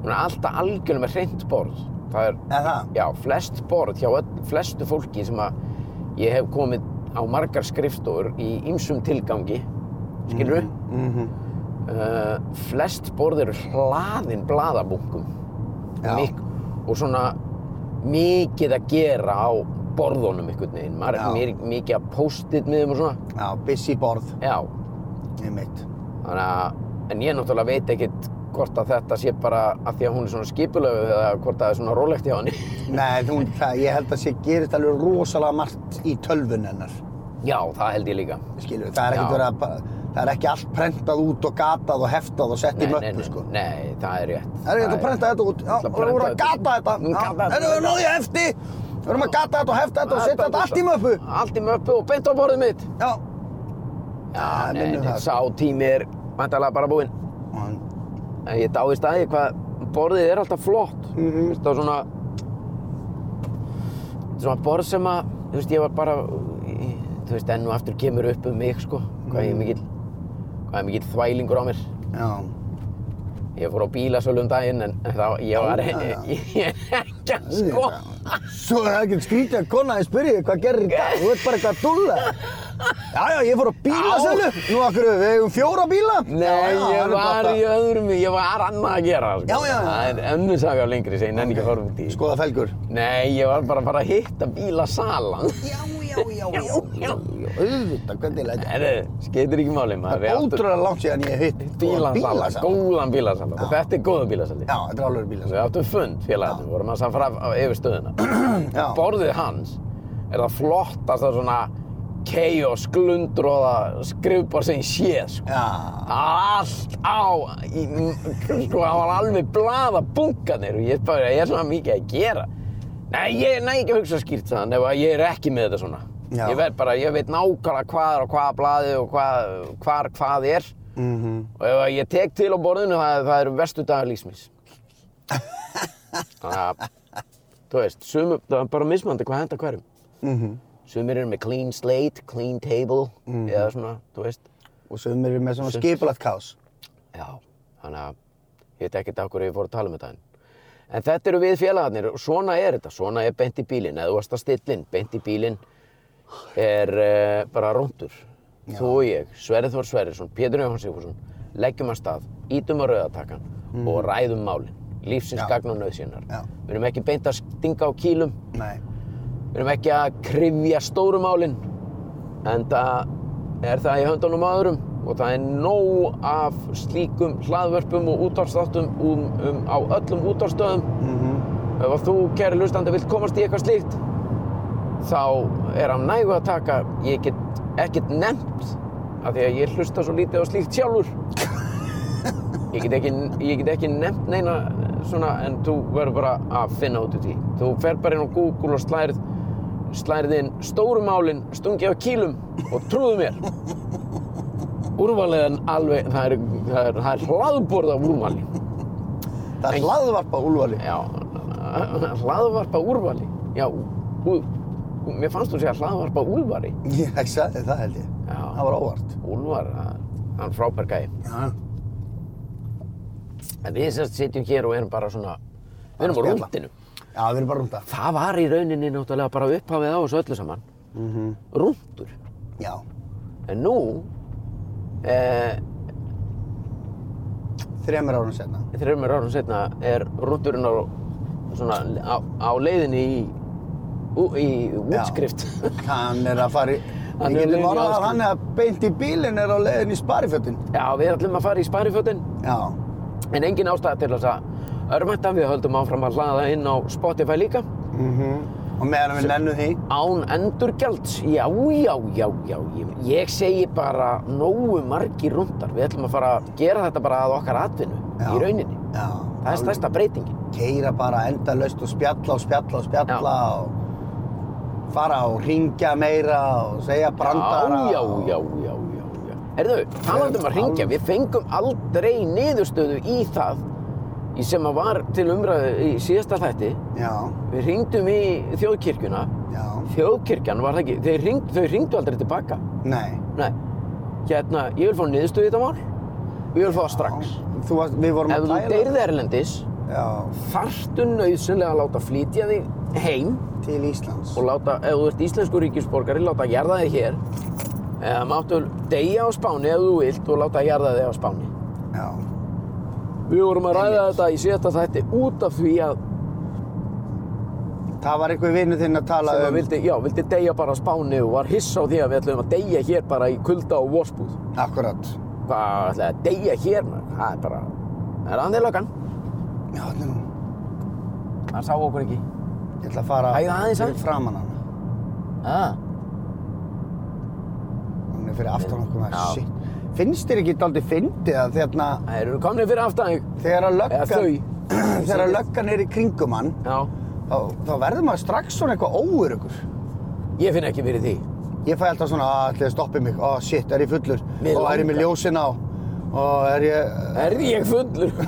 Hún er alltaf algjörlega með hreint borð. Það er
eða það,
Já, flest borð hjá öll, flestu fólki sem að ég hef komið á margar skrifstofur í ýmsum tilgangi, skilur
Mhm.
við? flest borð eru hlaðin blaðabunkum.
Já.
Mik- og svona mikið að gera á borðunum einhvern veginn. Maður
Já.
er mér, mikið að post-it með þeim og svona.
já, busy borð
Já,
einmitt,
þannig að, en ég náttúrulega veit ekkert hvort að þetta sé bara að því að hún er svona skipulegu eða hvort að það er svona rólegt hjá henni.
nei, þú, það, ég held að sé gerist alveg rosalega margt í tölvun hennar
Já, það held ég líka.
skilur, það er ekkert
Já.
verið að bara- það er ekki allt prentað út og gatað og heftað og sett í
Nei, nei,
möppu
nei,
sko
nei, það er rétt.
það er ekkert að prenta þetta út já,
ætla að
það voru
prenta
að
þetta.
gata þetta
Nú,
Já,
gata þetta.
herru, við náðum í hefti við vorum að gata þetta og hefta þetta og setja þetta allt í möppu
Allt í möppu og beint á borðið mitt.
já,
Já, nei,
minnum
nei,
það.
sá tími er vantarlega bara búinn.
og hann
En ég dáist að því hvað borðið er alltaf flott. Mm
Mhm.
Þetta var svona... Þetta er svona borð sem að, þú veist, ég var bara... í- Þú veist, enn og aftur kemur upp um mig, sko. Hvað
Mhm.
ég er mikill... Hvað er mikill þvælingur á mér.
Já,
Ég fór á bílasölu um daginn, en, en þá... Ég var...
Já, já.
Ég er ekki að sko...
auðvitað. Svo er það ekkert skrítið að kona að spyrja þig hvað gerir í dag, þú veit bara eitthvað að dúlla. Já, já, ég fór á bílasölu. Nú akkur við eigum fjóra bíla.
Nei,
Já, já,
ég
alveg
var
bara-
í öðrum... Ég var annað að gera, sko.
Já, já, sko. já.
Það er önnur saga lengri, sem ég nenni ekki að horfa út í.
Skoða felgur.
Nei, ég var bara að fara að hitta bílasalan.
Já, já, já, já, já, já, auðvitað, hvernig læti.
Herri, skeytir ekki máli, maður.
Það
Við
er
áttum-
ótrúlega langt síðan ég hef hitt
bílasala,
góðan bílasala.
góðan bílasala og þetta er góðan bílasali
Já, þetta er alveg
við
bílasala.
áttum fund félagarnir, við vorum að samfara af- á yfir stöðuna
Já,
borðið hans er það flottasta svona chaos, glundróða skrifbar sem ég sé sko.
já,
Það var allt á í, sko, það var alveg blaða bunkanir og ég bara, ég er svona mikið að gera nei, ég næ ekki að hugsa skýrt þann ef að ég er ekki með þetta svona
Já.
ég veit bara, ég veit nákvæmlega hvað er og hvaða blaði og hvað, hvar hvað er
mhm.
Og ef að ég tek til á borðinu, það, það eru verstu dagar lífsmins. Þannig að, þú veist, sumum, það er bara mismandi hvað henda hverjum.
Mhm.
Sumir eru með clean slate, clean table, eða svona, þú veist.
Og svo erum við með svona skipulagt kás.
Já, þannig að ég veit ekkert af hverju ég fór að tala um þetta. En, en þetta eru við félagarnir og svona er þetta, svona er beint í bílinn. Eða þú varst að stillin, beint í bílinn er uh, bara rúndur. Þú og ég, Sverrið Þór Sverrisson, Pétur Jóhann Sigfússon, leggjum að stað, ítum á rauðatakkan og ræðum málin. Lífsins
Mhm. Já.
gagn og nöðsynnar.
Já.
Við erum ekki beint að stinga á kýlum,
Nei.
við erum ekki að krifja stóru málin. En það er það í höndunum á öðrum og það er nóg af slíkum hlaðvörpum og útvarstáttum um, um, á öllum útvarstöðum.
Mhm.
Ef að þú, kæri hlustandi, vilt komast í eitthvað slíkt, þá er hann nægu að taka, ég get ekkert nefnt, af því að ég hlusta svo lítið á slíkt sjálfur. Ég get ekki, ég get ekki nefnt neina svona, en þú verður bara að finna út úr því. Þú fer bara inn á Google og slærið, slærið inn stórumálin, stungið á kýlum og trúðu mér. Úrvaliðan alveg, það er, það er, það er hlaðborð af úrvali.
Það er hlaðvarpa úlvali.
Já, hlaðvarpa úrvali. Já, hú, hú, mér fannst þú segja hlaðvarpa úlvari.
Ég sagði það held ég.
Já.
Það var óvart.
Úlvar, það- hann frábær gæði.
Já.
En við sérst sitjum hér og erum bara svona, við erum á
Að spjalla.
rúndinu.
Já, við erum bara rúnda.
Það var í rauninni náttúrulega bara upphafið á þessu öllu saman.
Mm
Mhm.
-hmm.
Rúndur.
Já.
En nú, eh,
Þremur árum senna.
þreymur árum setna, er rúndurinn á, svona, á, á leiðinni í, ú- í útskrift.
Hann er að fara í...
Hann er
Við getum
leiðin í
orðað að
Ásgrím.
hann er að beint í bílinn er á leiðin í sparifjötin.
Já, við ætlum að fara í sparifötin.
Já.
En engin ástæða til þess að örmænta, við höldum áfram að hlaða inn á Spotify líka.
Mm Og meðan við nennu því.
Án endurgjalds, já, já, já, já, ég, ég segi bara nógu margir rundar. Við ætlum að fara að gera þetta bara að okkar atvinnu
Já.
í rauninni.
Já.
Það er stærsta breytingin.
Keira bara endalaust og spjalla og spjalla og spjalla og fara og ringja meira og segja brandara.
Já, já, já, já, já, já. Herðu, talandum að ringja, við fengum aldrei niðurstöðu í það í sem að var til umræðu í síðasta þætti.
Já.
Við ringdum í þjóðkirkjuna.
Já.
Þjóðkirkjan var það ekki, þau ringdu, þau ringdu aldrei tilbaka.
Nei.
Nei, hérna, ég vil fá niðurstöðu í þetta mál og ég vil fá það strax.
Þú varst, við vorum
Ef
að
þú
tæla.
deyrði erlendis,
Já.
þarftu nauðsynlega að láta flytja þig heim
Til Íslands.
og láta, ef þú ert íslensku ríkisborgari, láta jarða þig hér. Eða máttu deyja á Spáni ef þú vilt og láta jarða þig á Spáni.
Já.
Við vorum að ræða þetta í síðasta þætti út af því að
Það var einhver vinnu þinn að tala
sem
um.
að vildi, já, vildi deyja bara á Spáni og var hiss á því að við ætlum að deyja hér bara í kulda og vospúð.
Akkurat.
Hvað ætlaði að deyja hér? maður? Það er bara, það er andið löggan.
Já, þetta er nú.
Það sá okkur ekki.
Ég ætla að fara
Hægðu aðeins að.
fyrir framan hana.
Ah.
Hún er fyrir aftan okkur með
Já.
shit. Finnst þér ekki aldrei fyndið að þérna,
Þeir eru komnir fyrir aftan þig.
þegar að
Eða
löggan,
þau.
þegar að löggan er í kringum hann,
Já.
þá, þá verður maður strax svona eitthvað óurugur.
Ég finn ekki fyrir því.
Ég fæ alltaf svona, að ætli þið stoppi mig, ó shit, er ég fullur,
Mig
ó er ég með
langar.
ljósin á, og er ég...
Er ég fullur?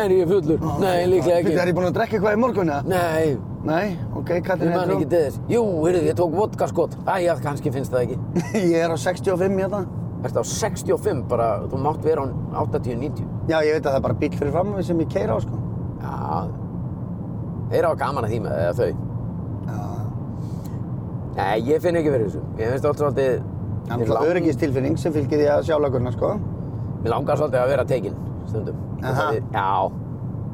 er ég fullur? Eh, Nei, líklega
Bíddu, Er
ekki.
ég búinn að drekka eitthvað í morgun eða?
Nei,
Nei, ok,
ég
Katrín
man
heitir
ekki
hún.
til þess. Jú, heyrðu, ég tók vodka skot. Æja, kannski finnst það ekki.
ég er á 65 hérna.
Ertu á 65 bara, þú mátt vera á 80-90.
Já, ég veit að það er bara bíl fyrir fram sem ég keira á, sko.
Já, þeir hafa gaman að því með eða þau.
Já,
Nei, ég finn ekki fyrir þessu. Ég finnst alltaf svolítið...
það
Mér
er
lang-
öryggistilfinning sem fylgir því að sjálagurna, sko.
Mér langar svolítið að vera tekinn stundum.
Aha.
Já,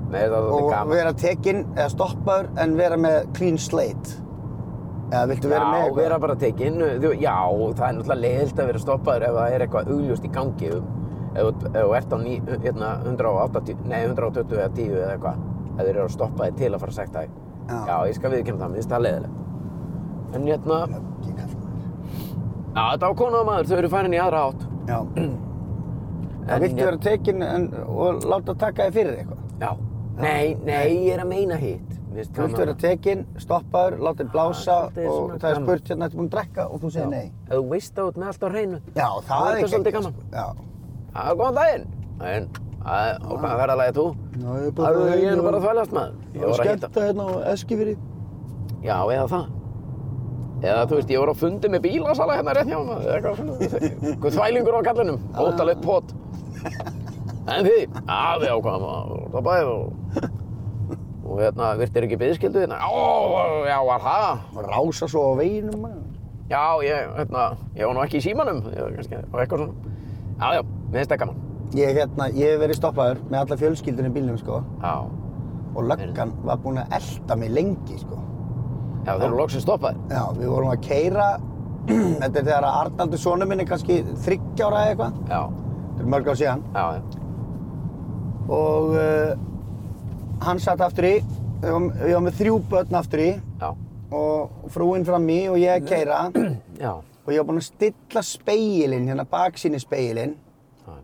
mér finnst það
Og
svolítið gaman.
vera tekinn eða stoppaður en vera með clean slate. Eða viltu vera með
Já,
eitthvað?
vera bara tekinn. Þú- Já, það er náttúrulega leiðilt að vera stoppaður ef það er eitthvað augljóst í gangi. Um, ef þú- ef þú ert á ní, hérna, 180, nei, 120 eða 10 eða eitthvað. Ef þeir eru að stoppa þig til að fara að sekta þig.
Já.
Já, ég skal viðkjönd það, mér finnst það leiðilegt. En hérna,
Ekki kallmaður.
já, þetta á konaða maður, þau eru farin í aðra átt.
Já. Það
En
viltu
ég-
vera tekinn en, og láta taka þig fyrir eitthvað.
Já. Nei, nei, ég er að meina hitt. Mér finnst
Þú viltu
gaman.
vera tekinn, stoppaður, láta þig blása
Ah, svolítið
og
svona
það er
gaman.
spurt hérna, ertu búinn að drekka og þú segir nei.
Ef þú veist það út með allt á hreinu.
Já, það
er
er
þetta
ekki
svolítið gaman.
Já.
Það er góðan daginn. En, að, og hvað ferðalagið þú?
Já, ég er bara
Það
að-
er ég er nú bara að þvælast maður. Ég var að hitta.
hérna á Eskifyrri.
Já, eða það. Eða þú veist, ég var á fundi með bílasala hérna rétt hjá maður. eða Eitthvað svona. Guð þvælingur á kallinum. Óttalegt pot. En því, að við ákvæðum að það bæði og... Og hérna, virtir ekki byggskildu þérna? Ó, já, var það.
Rása svo á veginum maður.
Já, ég, hérna, ég var nú ekki í símanum. Ég var kannski, og eitthvað svona. Já, já, mér finnst það gaman.
Ég, hérna, ég hef verið stoppaður með alla fjölskyldunni í bílnum sko
Já.
og löggan var búin að elda mig lengi sko.
Já, þeir eru loksins stoppaðir.
Já, við vorum að keira, þetta er þegar að Arnaldur sonu minni kannski þryggjára eða eitthvað,
Já,
þetta er mörg á síðan
já, já.
og uh, hann satt aftur í, við varum- við varum með þrjú börn aftur í
Já,
og frúinn fram í og ég að keira og
já.
ég var búin að stilla speilin, hérna baksinni speilin
já.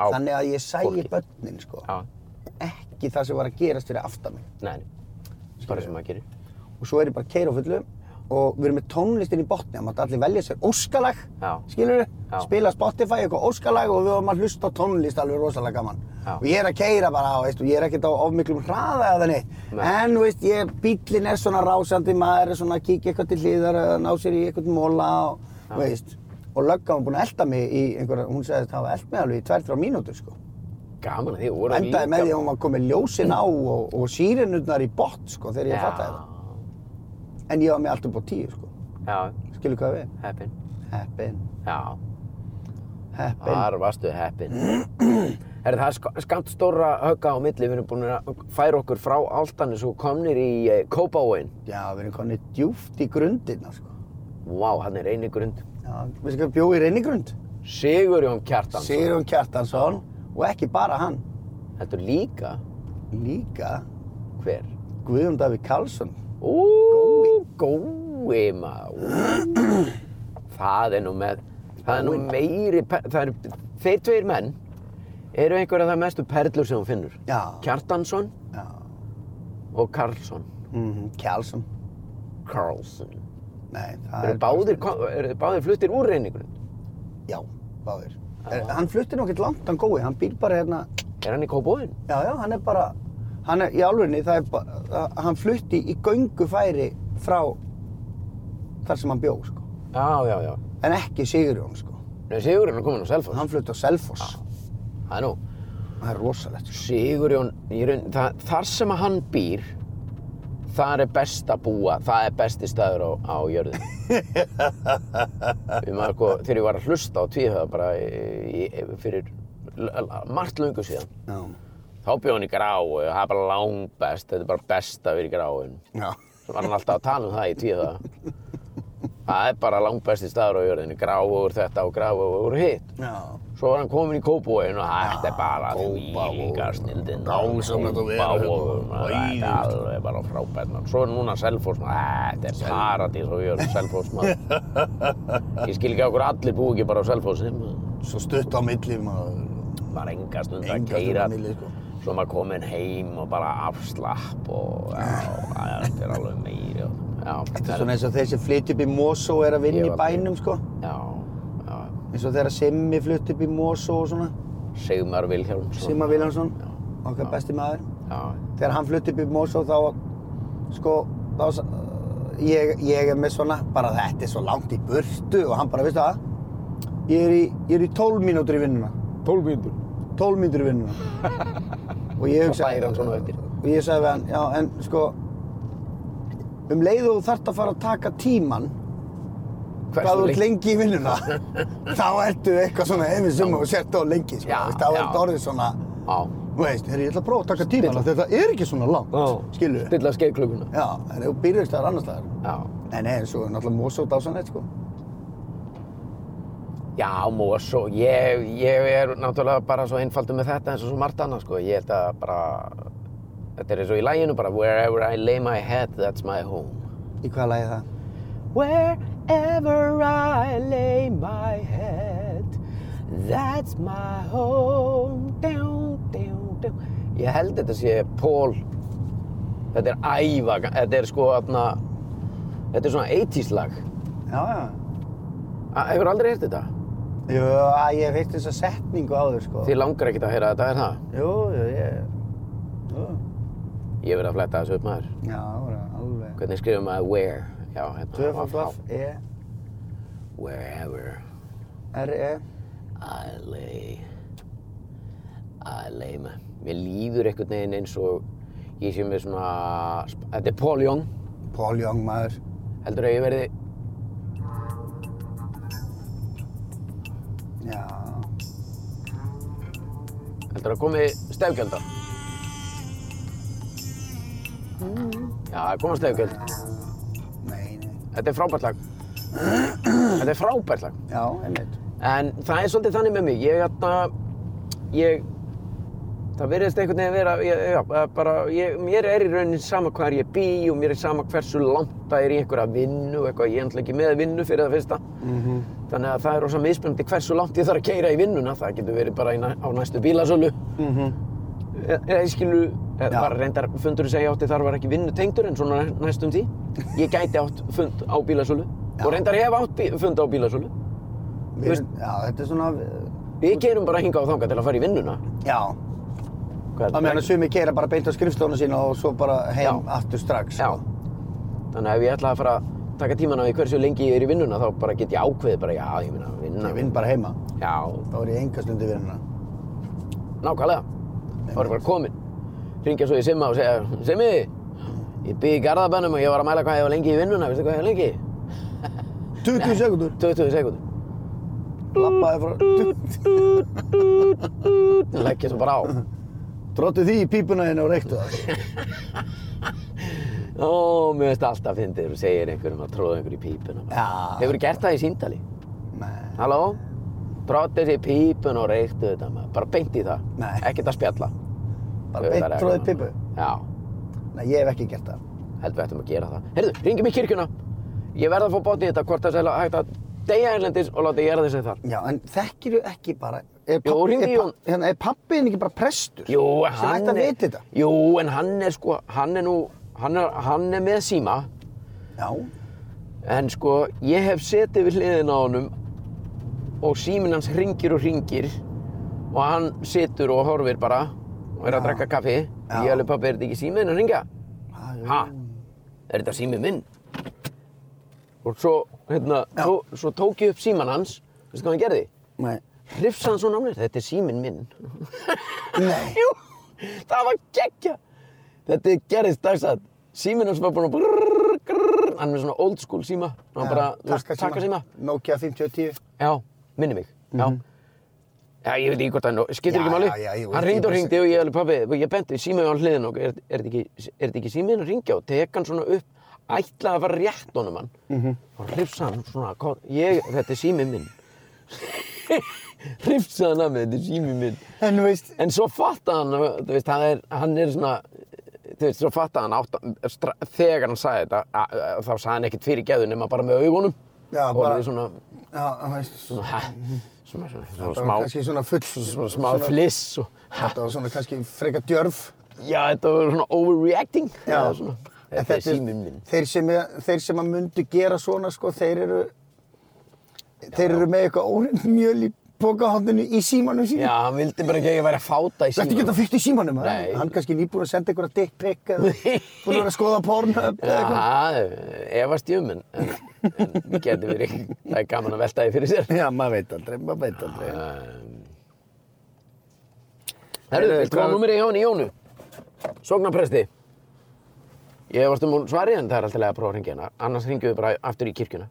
Á,
þannig að ég sæi
fólki.
börnin sko
Já,
ekki það sem var að gerast fyrir aftan mig
nei, nei. Bara sem maður gerir.
og svo er ég bara að keira á fullu og við erum með tónlistin í botni það mátti allir velja sér óskalag
Já.
skilur
Já.
spila Spotify eitthvað óskalag og við varum að hlusta á tónlist alveg rosalega gaman
Já.
og ég er að keira bara og, veist, og ég er ekkert á of miklum hraða eða neitt
Nei.
en þú veist, ég, bíllinn er svona rásandi maður er svona að kíkja eitthvað til hliðar að ná sér í eitthvað móla og, þú veist, og löggan var búin að elda mig í einhverja, hún sagðist hafa eld mig alveg í 2-3 mínútur sko
Gaman að því, voru
endaði með því að hún var komið ljósin á og, og sírenurnar í bott sko þegar ég fattaði það En ég var með allt upp á tíu, sko.
Já,
Skilur hvað við?
heppin.
Heppin,
Já,
heppin.
þar varstu heppin. Er það er sk- skamt stóra högga á milli, við erum búin að færa okkur frá áltanis og komnir í eh, Kópavóin.
Já, við erum konið djúft í grundina, sko.
Vá, hann er eini grund.
Já, við hvað bjóð í reynigrund.
Sigurjón Kjartansson.
Sigurjón Kjartansson og ekki bara hann.
Þetta er líka
Líka
hver?
Guðjón Davík Karlsson.
Gói Gói maður Það er nú með Það er nú meiri pe- það er, Þeir tveir menn eru einhverja það mestu perlur sem hún finnur
Já.
Kjartansson
Já.
og Karlsson
Mm Karlsson.
Karlsson
Nei, það
Eru báðir, kom- eru þeir báðir fluttir úr reyningur
Já, báðir. Er, hann flutti nú ekkert langt, hann gói. Hann býr bara hérna...
Er hann í kóbóðin?
Já, já, hann er bara... Hann er í álunni, það er bara... Hann flutti í göngufæri frá þar sem hann bjó, sko.
Já, já, já
En ekki Sigurjón, sko.
Nei, Sigurjón er kominn á Selfoss
Hann flutti á Selfoss.
Það er nú
Það er rosalegt. sko.
Sigurjón, í raun, það, þar sem að hann býr, þar er best að búa, það er besti staður á, á jörðu. sko- þegar ég var að hlusta á tvíhöða bara í, í, fyrir l- l- margt löngu síðan,
Já.
þá bjóð hann í gráu, það er bara langbest, þetta er bara best að vera í gráin.
Já.
Svo var hann alltaf að tala um það í tvíhöða. Það er bara langbesti staður á jörðinni, gráur þetta og gráur hitt.
Já.
Svo var hann kominn í Kópavóin og þetta er bara
Kópavogur.
líka snildin.
Dásamlegt að vera
Þetta
hérna.
er alveg bara frábært. maður. Svo er núna Selfoss, maður. Þetta er paradís og við erum Selfoss maður. Ég skil ekki okkur allir búi ekki bara á Selfossi. maður.
Svo stutt á milli maður.
Maður enga stund að
Enga
keira.
stundar milli, sko.
Svo maður kominn heim og bara afslapp og já, þetta er alveg meiri. og- Já,
Þetta er svona eins og þeir sem flytja upp í Mosó er að vinna
Ég
í
var
bænum, sko.
já, já.
eins og þegar Simmi flutt upp í Mosó og svona
Sigmar Vilhjálmsson.
Simma Viljánsson,
Já.
okkar besti maður
Já,
þegar hann flutt upp í Mosó þá sko þá, sa- ég, ég er með svona bara þetta er svo langt í burtu og hann bara veistu það ég er í, ég er í 12 mínútur í vinnuna
12 mínútur.
12 mínútur í vinnuna og ég hugsaði
bæri hann svona á eftir.
og ég sagði við hann já en sko um leið og þú þart að fara að taka tíman hvað þú ert lengi í vinnuna þá ertu eitthvað svona hefðið sem þú sért á lengi sko,
Já,
veist, þá
já.
ertu orðið svona
Já,
þú veist, herri, ég ætla að prófa að taka tíman af því að þetta er ekki svona langt
Já.
skilur við
stilla skeiðklukuna.
já, en þú byrjar staðar annars staðar
Já.
en nei, en svo er náttúrulega Mosó dásanett sko
Já, Mosó, ég, ég er náttúrulega bara svo einfaldur með þetta eins og svo margt annað, sko. Ég held að bara, þetta er eins og í læginu bara, wherever I lay my head, that's my home.
í hvaða lagi er það?
Wherever I lay my head, that's my home. Dun, dun, dun. Ég held þetta sé Paul, þetta er æva, þetta er sko, atna, þetta er svona 80s lag.
já, já
A- Hefur aldrei heyrt þetta?
jú, að ég hef heilt þessa setningu áður sko
Þið langar ekkert að heyra þetta, er það?
jú, jú, ég jú.
Ég verði að fletta þessu upp maður.
já, það voru alveg
Hvernig skrifum maður where? Já, hérna.
tvöfald
á- á-
vaff, e,
Wherever
r, e
I lay I lay my Mér líður einhvern veginn eins og ég sé með svona Þetta er Paul Young
Paul Young maður
heldur að ég verði
já,
heldur að komi stefgjölda Já, það koma stefgjöld
nei, nei
Þetta er frábært lag Þetta er frábært lag
já, einmitt
En það er svolítið þannig með mig. Ég, hérna, ég, það virðist einhvern veginn að vera, ég, já, eh, bara, ég, mér er í raunin sama hvar ég bý og mér er sama hversu langt það er í einhverja vinnu og eitthvað. Ég er náttúrulega ekki með vinnu fyrir það fyrsta.
Mhm,
Þannig að það er rosa mismunandi hversu langt ég þarf að keira í vinnuna. Það getur verið bara í, næ- á næstu bílasölu.
mhm
Eh, eh, Ég skilu, eh,
Já.
bara reyndar fundur segja átti þar var ekki vinnutengdur en svona næ- næstum því. Ég gæti átt fund á bílasölu
Já.
og reyndar hef átt bí, fund á bílasölu.
Við,
Veist-
já, þetta er svona... uh,
Við gerum bara hinga á þanga til að fara í vinnuna.
Já,
Hvað
það meðan að sumi keira bara beint á skrifstónu sína og svo bara heim
Já.
aftur strax. sko.
Já. Þannig að ef ég ætla að fara að taka tíman á því hversu lengi ég er í vinnuna þá bara get ég ákveðið bara, já, ég minna, vinna.
Ég vinn bara heima.
Já,
Þá er ég enga stund í vinnuna.
nákvæmlega. Það var ég bara kominn. Ringja svo í Simma og segja, Simmi, ég bygg í Garðabænum og ég var að mæla hvað ég var lengi í vinnuna, veistu hvað ég var lengi?
20 sekundur.
20 sekúndur.
Lappaði frá...
Leggja svo bara á.
Drótti því í pípuna hérna og reyktu það.
Ó, mér finnst alltaf fyndið þegar þú segir einhverjum að tróða einhverju í pípuna.
Já.
Hefur gert það í síndali?
Nei.
Halló? Tróttið sér pípun og reyktu þetta maður. Bara beint í það.
Nei.
Ekkert að spjalla.
Bara beint
Auðvitað er
tróði
ekki
pípu.
annað. Já,
Nei, ég hef ekki gert það.
held við ættum að gera það. Heyrðu, ringjum í kirkjuna. Ég verð að fá botni í þetta hvort það sé hægt að deyja erlendis og láta ég erði sig þar.
Já, en þekkir þú ekki bara... Er
Jú, hringdu í
er,
Jón.
pa- hérna, er pappiðin ekki bara prestur?
Jú,
Sem ætti að vita þetta.
Jú, en hann er sko, hann er nú, hann er, hann er með síma.
Já.
En sko, ég hef setið við hliðin á honum og símin hans ringir og ringir og hann situr og horfir bara og er að
Já.
drekka kaffi.
Já.
Ég alveg pappi, er þetta ekki símin að ringja?
Ah, jú.
Ha? Er þetta sími minn? Og svo, hérna,
Já.
svo, svo tók ég upp síman hans, veistu hvað hann gerði?
Nei.
Hrifsa hann svona á mér, þetta er símin minn.
Nei.
Jú, það var geggja. Þetta gerðist dagsat. Símin hans var búinn að brrrr, grrrr, hann er með svona old school síma. Hann bara, þú veist,
Takka
takka síma.
Nokia 5010.
Já, minni mig, já. Já, ég veit ekki hvort hann, skiptir
Mhm. Já,
ekki máli.
já, já, jú,
hann
ég-
ringdi og
ég-
ringdi og ég alveg pabbi, ég benti símaði á hliðin og er, er þetta ekki, er þetta ekki símiðin að ringja og tek hann svona upp, ætlaði að fara rétt honum hann
Mhm.
og hrifsa hann svona, kom, ég, þetta er símið minn. hrifsa hann að mig, þetta er símið minn.
En þú veist...
En svo fattaði hann, þú veist, hann er, hann er svona, þú veist, svo fattaði hann átt, stra, þegar hann sagði þetta, a- a- þá sagði hann ekkert fyrir geðu nema bara með augunum.
Já,
og
bara-
við svona,
Já, þú veist...
svona, ha, svona, svona, svona,
Það var
smá,
kannski svona full...
svona smá fliss og, ha,
Þetta var svona kannski freka djörf.
já, þetta var svona overreacting. eða svona,
En
þetta er síminn minn.
Þeir sem, þeir sem að myndu gera svona, sko, þeir eru... þeir eru með eitthvað óreint mjöl í pokahóndinu í símanum
Já,
sínum.
hann vildi bara ekki að ég væri að fáta í
Þetta ekki
símanum.
þetta fyrst í símanum, eða?
Nei.
hann kannski nýbúin að senda einhverja dick pic eða búin að vera að skoða pornhub eða eitthvað.
Já, efast ég um en, en, en geti verið, það er gaman að velta því fyrir sér.
Já, maður veit aldrei, maður veit aldrei.
Herru,
Heyrðu,
viltu hvað
hvað-
númerið hjá henni Jónu? Sognapresti. Ég varst um hún svarið en það er alltaf lega að prófa að ringja hennar. Annars ringjum við bara aftur í kirkjuna.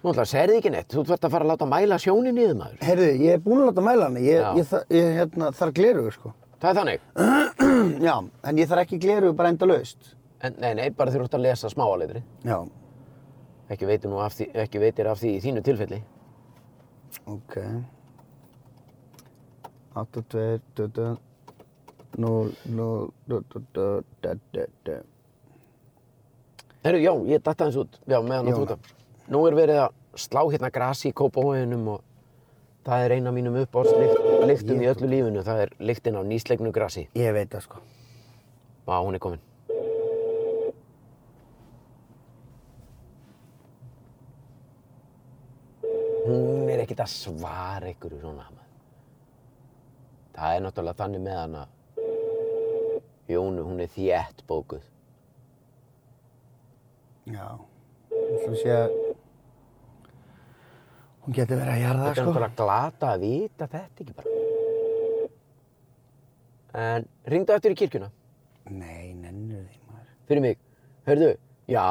Þú ætla að segja ekki neitt. Þú ert að fara að láta mæla sjónin niður maður.
Heyrðu, ég er búin að láta mæla hana, ég,
Já.
ég, þa- ég hérna, þarf glerugu sko.
Það er þannig.
Já, en ég þarf ekki glerugu bara enda laust.
En, nei, nei, bara þú ert að lesa smáaleitri.
Já,
Ekki veitir, nú af því, ekki veitir af því í þínu tilfelli.
ok. 8, 2, 2, 0, 0, 0, 0, 0,
Herru, já, ég datta eins út. Já, meðan að þú
Jóna.
ert. Nú er verið að slá hérna grasi í kópahóinum og það er eina af mínum uppáhaldsliktum í öllu lífinu. Það er lyktin af nýslegnu grasi.
Ég veit það sko.
Vá, hún er komin. Hún er ekkert að svara ykkur svona. maður. Það er náttúrulega þannig með hana. Jónu, hún er þétt bókuð.
Já. Þú sé að hún getur verið að jarða
Þetta er
sko.
náttúrulega glata að vita þetta ekki bara. En ringdu eftir í kirkjuna
Nei, nennur því maður.
fyrir mig. Hörðu, já,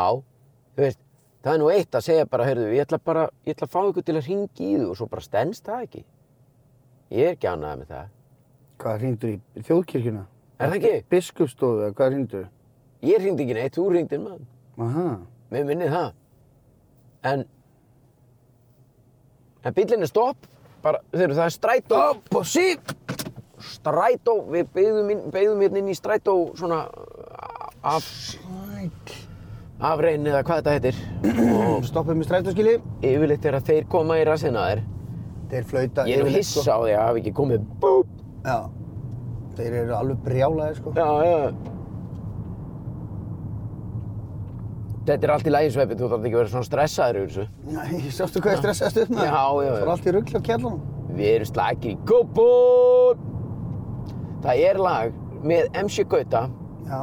þú veist, það er nú eitt að segja bara, hörðu, ég ætla bara, ég ætla að fá ykkur til að ringi í þú og svo bara stendst það ekki. Ég er ekki ánægð með það.
Hvað hringdur í þjóðkirkjuna?
Er það ekki?
Biskupstofu, eða hvað hringdur?
Ég ringdi ekki neitt, þú ringdir maður.
Aha.
Mér minnið það. En, en bíllinn er stopp, bara, þeir það er strætó.
Stopp og sík!
Strætó, við beigðum, inn, beigðum hérna inn í strætó svona uh, af,
Sæk.
afrein eða hvað þetta heitir.
Og stoppum við strætóskili.
Yfirleitt er að þeir koma í rassina þér.
Þeir flauta
Ég er nú
yfirleitt,
hissa á því að hafa ekki komið búp.
Sko. Já. Þeir eru alveg brjálaði sko.
Já, já. Þetta er allt í lægi sveipið, þú þarf ekki að vera svona stressaður yfir þessu.
Nei, sástu hvað ég stressaðist upp með?
Já, já, já.
Fór allt í ruggli á kjallanum.
Við erum slakir í kópun! Það er lag með MC Gauta,
Já.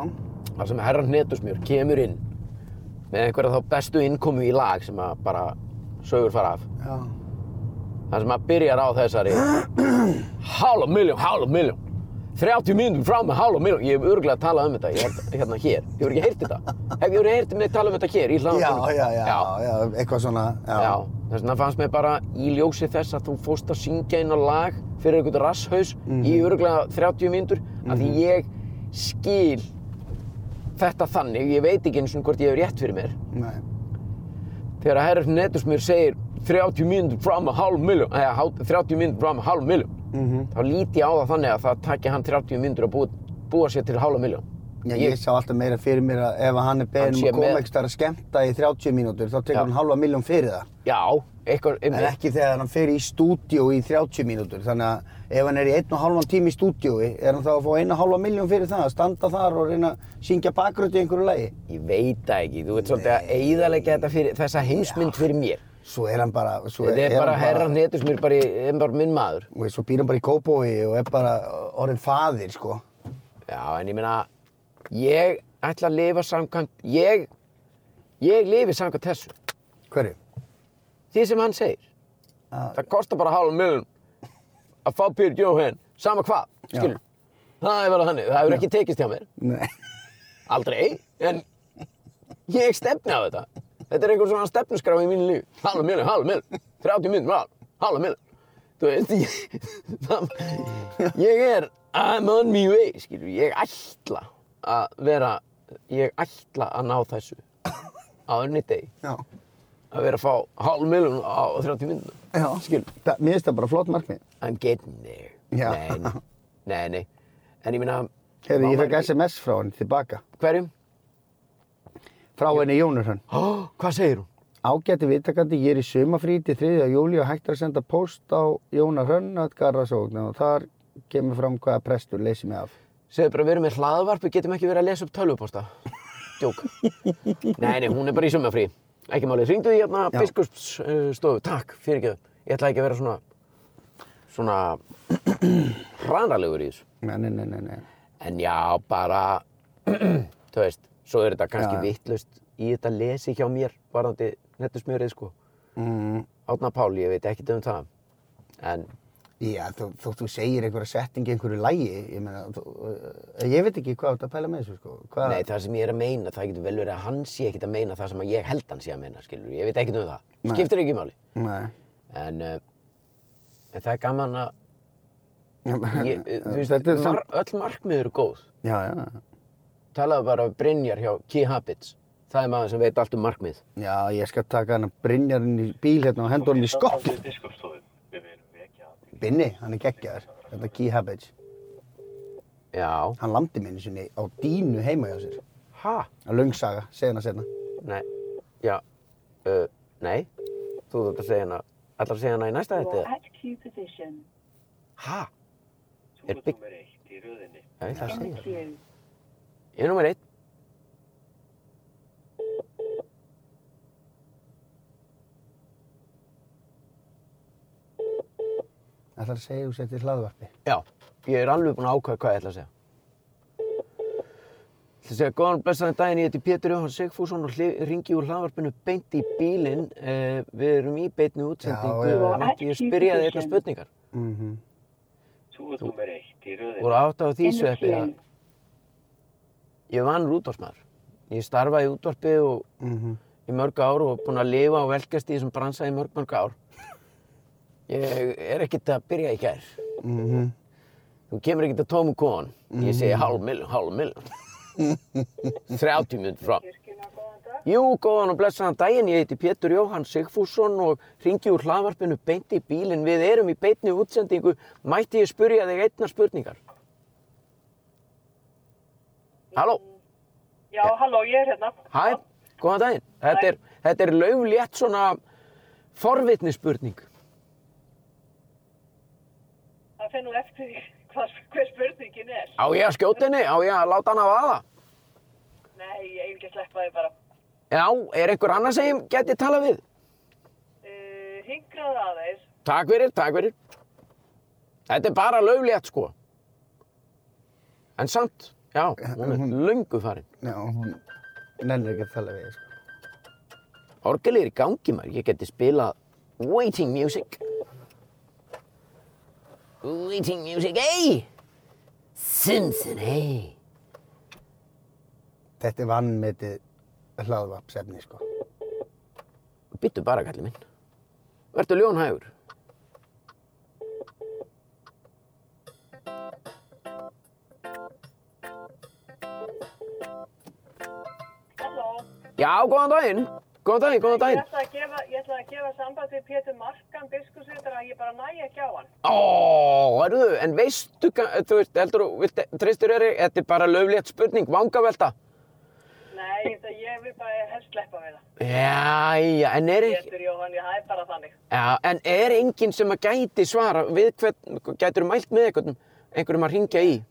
þar sem herran Hnetusmjör kemur inn með einhverja þá bestu innkomu í lag sem að bara sögur fara af.
Já.
þar sem að byrjar á þessari hálf miljón, hálf miljón 30 mínútur frá með hálf miljón ég hef örgulega talað um þetta ég, held- hérna hér, ég hef ekki heyrt þetta hef ég verið heyrt mig tala um þetta hér í
Já,
hlaðvarpinu?
já, já, já, eitthvað svona, já.
já. þess vegna fannst mér bara í ljósi þess að þú fóst að syngja inn á lag fyrir einhvern rasshaus í
Mhm.
örgulega 30 mínútur af því ég skil þetta þannig, ég veit ekki eins og hvort ég hef rétt fyrir mér
Nei.
þegar að herrar Netusmjör segir 30 mínútur frá með hálf miljón eða há- 30 mínútur frá með hálf miljón
Mhm.
þá líti ég á það þannig að það takja hann 30 mínútur að búa, búa sér til hálfa miljón
Já, ég, sá alltaf meira fyrir mér að ef hann
Hann
er beðin um
sé
að koma
með-
ekki að skemmta í 30 mínútur þá tekur
Já.
hann halva miljón fyrir það.
Já, eitthvað
En ekki þegar hann fer í stúdíó í 30 mínútur. Þannig að ef hann er í einn og halvan tími í stúdíói er hann þá að fá eina halva miljón fyrir það að standa þar og reyna að syngja bakgröti í einhverju lagi.
Ég veit það ekki, þú veit svolítið að eigðalega þetta fyrir þessa heimsmynd fyrir mér
Svo er hann bara...
Sko,
Svo
Þetta er
hann
bara herrar Netusmjör, bara, í- er bara minn maður
Og svo býr hann bara í kópói og er bara orðin faðir, sko.
Já, en ég meina, ég ætla að lifa samkvæmt ég, ég lifi samkvæmt þessu
Hverju?
því sem hann segir
Já.
Það kostar bara hálfa miljón að fá Pyrr Jóhann, sama hvað,
Já.
skilur Það er bara þannig, það hefur ekki tekist hjá mér
Nei.
Aldrei, en ég stefni á þetta. Þetta er einhver svona stefnusgraf í mínu lífi. Halva miljon, halva miljon, 30 minnum, halva, halva miljon. Þú veist, ég, það, ég er, I'm on my way, skilur, ég ætla að vera, ég ætla að ná þessu á önni deg,
Já.
að vera að fá halva miljon á 30 minnum.
Já. Skil. Það, mér finnst það bara flott markmið.
I'm getting there.
Já.
Nei, nei, nei, nei. En ég minna,
Heyrðu, ég fekk SMS frá henni tilbaka.
hverjum?
Frá henni Jónur hann.
Oh, hvað segir hún?
Ágæti viðtakandi, ég er í sumafrí til 3. júli og hægt er að senda post á Jóna Hrönnat Garðarsókn og þar kemur fram hvaða prestur leysi mig af.
segðu bara við erum með hlaðvarp, við getum ekki verið að lesa upp tölvuposta. Djók. Nei, nei, hún er bara í sumafrí. Ekki máli, hringdu því hérna
Já.
biskupsstofu, takk, fyrir ekki Ég ætla ekki að vera svona, svona hranalegur í þessu.
Nei, nei, nei, nei, nei.
En já, bara, þú veist, svo er þetta kannski
Já, já.
vittlust í þetta lesi hjá mér, varðandi nettusmjörið, sko.
Mm.
Átna Páli, ég veit ekki um það. En
Já, þó, þótt þú segir einhverja setting í einhverju lægi, ég meina, þú, uh, ég veit ekki hvað þetta pæla með þessu, sko. Hvað,
nei, það sem ég er að meina, það getur vel verið að hann sé ekkit að meina það sem að ég held hann sé að meina, skilur. Ég veit ekki um það.
Nei.
Skiptir ekki máli.
Nei.
En, uh, en það er gaman að, ég, eh,
Ég,
þú veist,
þetta er
mar,
samt...
öll markmið eru góð.
Já, já,
Talaðu bara af Brynjar hjá Key Habits. Það er maður sem veit allt um markmið.
já, ég skal taka hann að Brynjar inn í bíl hérna og henda hann í skopp. Binni, hann er geggjaður, þetta er Key Habits.
Já.
Hann landi minni sinni á dínu heima hjá sér.
Ha?
Að lungsaga, segja hana setna.
Nei. Já. Uh, nei. Þú þurft að segja hana. Ætlar að segja hana í næsta
You are
þetta?
at queue position.
Ha? Er bygg... Já, ég ætla að
In the
segja.
queue.
Ég er nummer eitt.
Ætlar að segja þú settir hlaðvarpi.
Já. Ég er alveg búinn að ákvæða hvað ég ætla að segja. Ég ætla að segja góðan blessaðan daginn, ég heiti Pétur Jóhann Sigfússon og hli- ringi úr hlaðvarpinu beint í bílinn. Uh, við erum í beinni útsendingu.
Já, já,
já.
Mátti ég spyrja þig eitthvað spurningar?
Mm -hmm.
Þú voru átt á því
In the
sveppi að
queue.
ég vann útvarsmaður. Ég starfaði í útvarpi og
Mm -hmm.
í mörg ár og búinn að lifa og velkast í þessum bransa í mörg, mörg ár. Ég er ekkert að byrja í gær.
Mm -hmm.
Þú kemur ekkert að tómu kon. Ég segi hálf milljón, hálf milljón. 30 minnum frá. Jú, góðan og blessaðan daginn. Ég heiti Pétur Jóhann Sigfússon og ringi úr hlaðvarpinu beint í bílinn. Við erum í beinni útsendingu. Mætti ég spurja þig einnar spurningar? Halló?
Já, halló, ég er hérna.
Hæ, góðan daginn. Þetta er, þetta er lauflétt svona forvitnisspurning.
Það finnum við eftir því hvað, hver spurningin er.
Á ég að skjóta henni? Á ég að láta hann að vaða?
Nei, ég vil ekki sleppa því bara.
Já, er einhver annar sem ég geti talað við?
Uh, hingraðu aðeins.
Takk fyrir, takk fyrir. Þetta er bara lauflétt, sko. En samt, já, hún er löngu farin.
Já, hún nennir ekki að tala við, þig, sko.
Orgelið er í gangi, maður. Ég geti spilað waiting music. Waiting music, ey! Simpson, ey!
Þetta er vannmetið hlaðvarpsefni, sko.
Byttu bara, kallið minn. Vertu ljónhægur.
Halló.
Já, góðan daginn. Góðan daginn, góðan
Ég
daginn.
ætla að gefa, ég ætla að gefa samband við Pétur Markan, biskursveitar, að ég bara næ ekki á hann.
Ó, erðu, en veistu, ga- þú veist, heldur þú, vilt, treystur er, þetta er bara löflétt spurning, vangavelta.
Nei, þetta ég vil bara helst sleppa við það.
Jæja, en er, ekki-
Pétur Jóhann, ég hæf bara þannig.
já, en er enginn sem að gæti svara, við hvern, gætur mælt með einhvern, einhverjum að ringja í?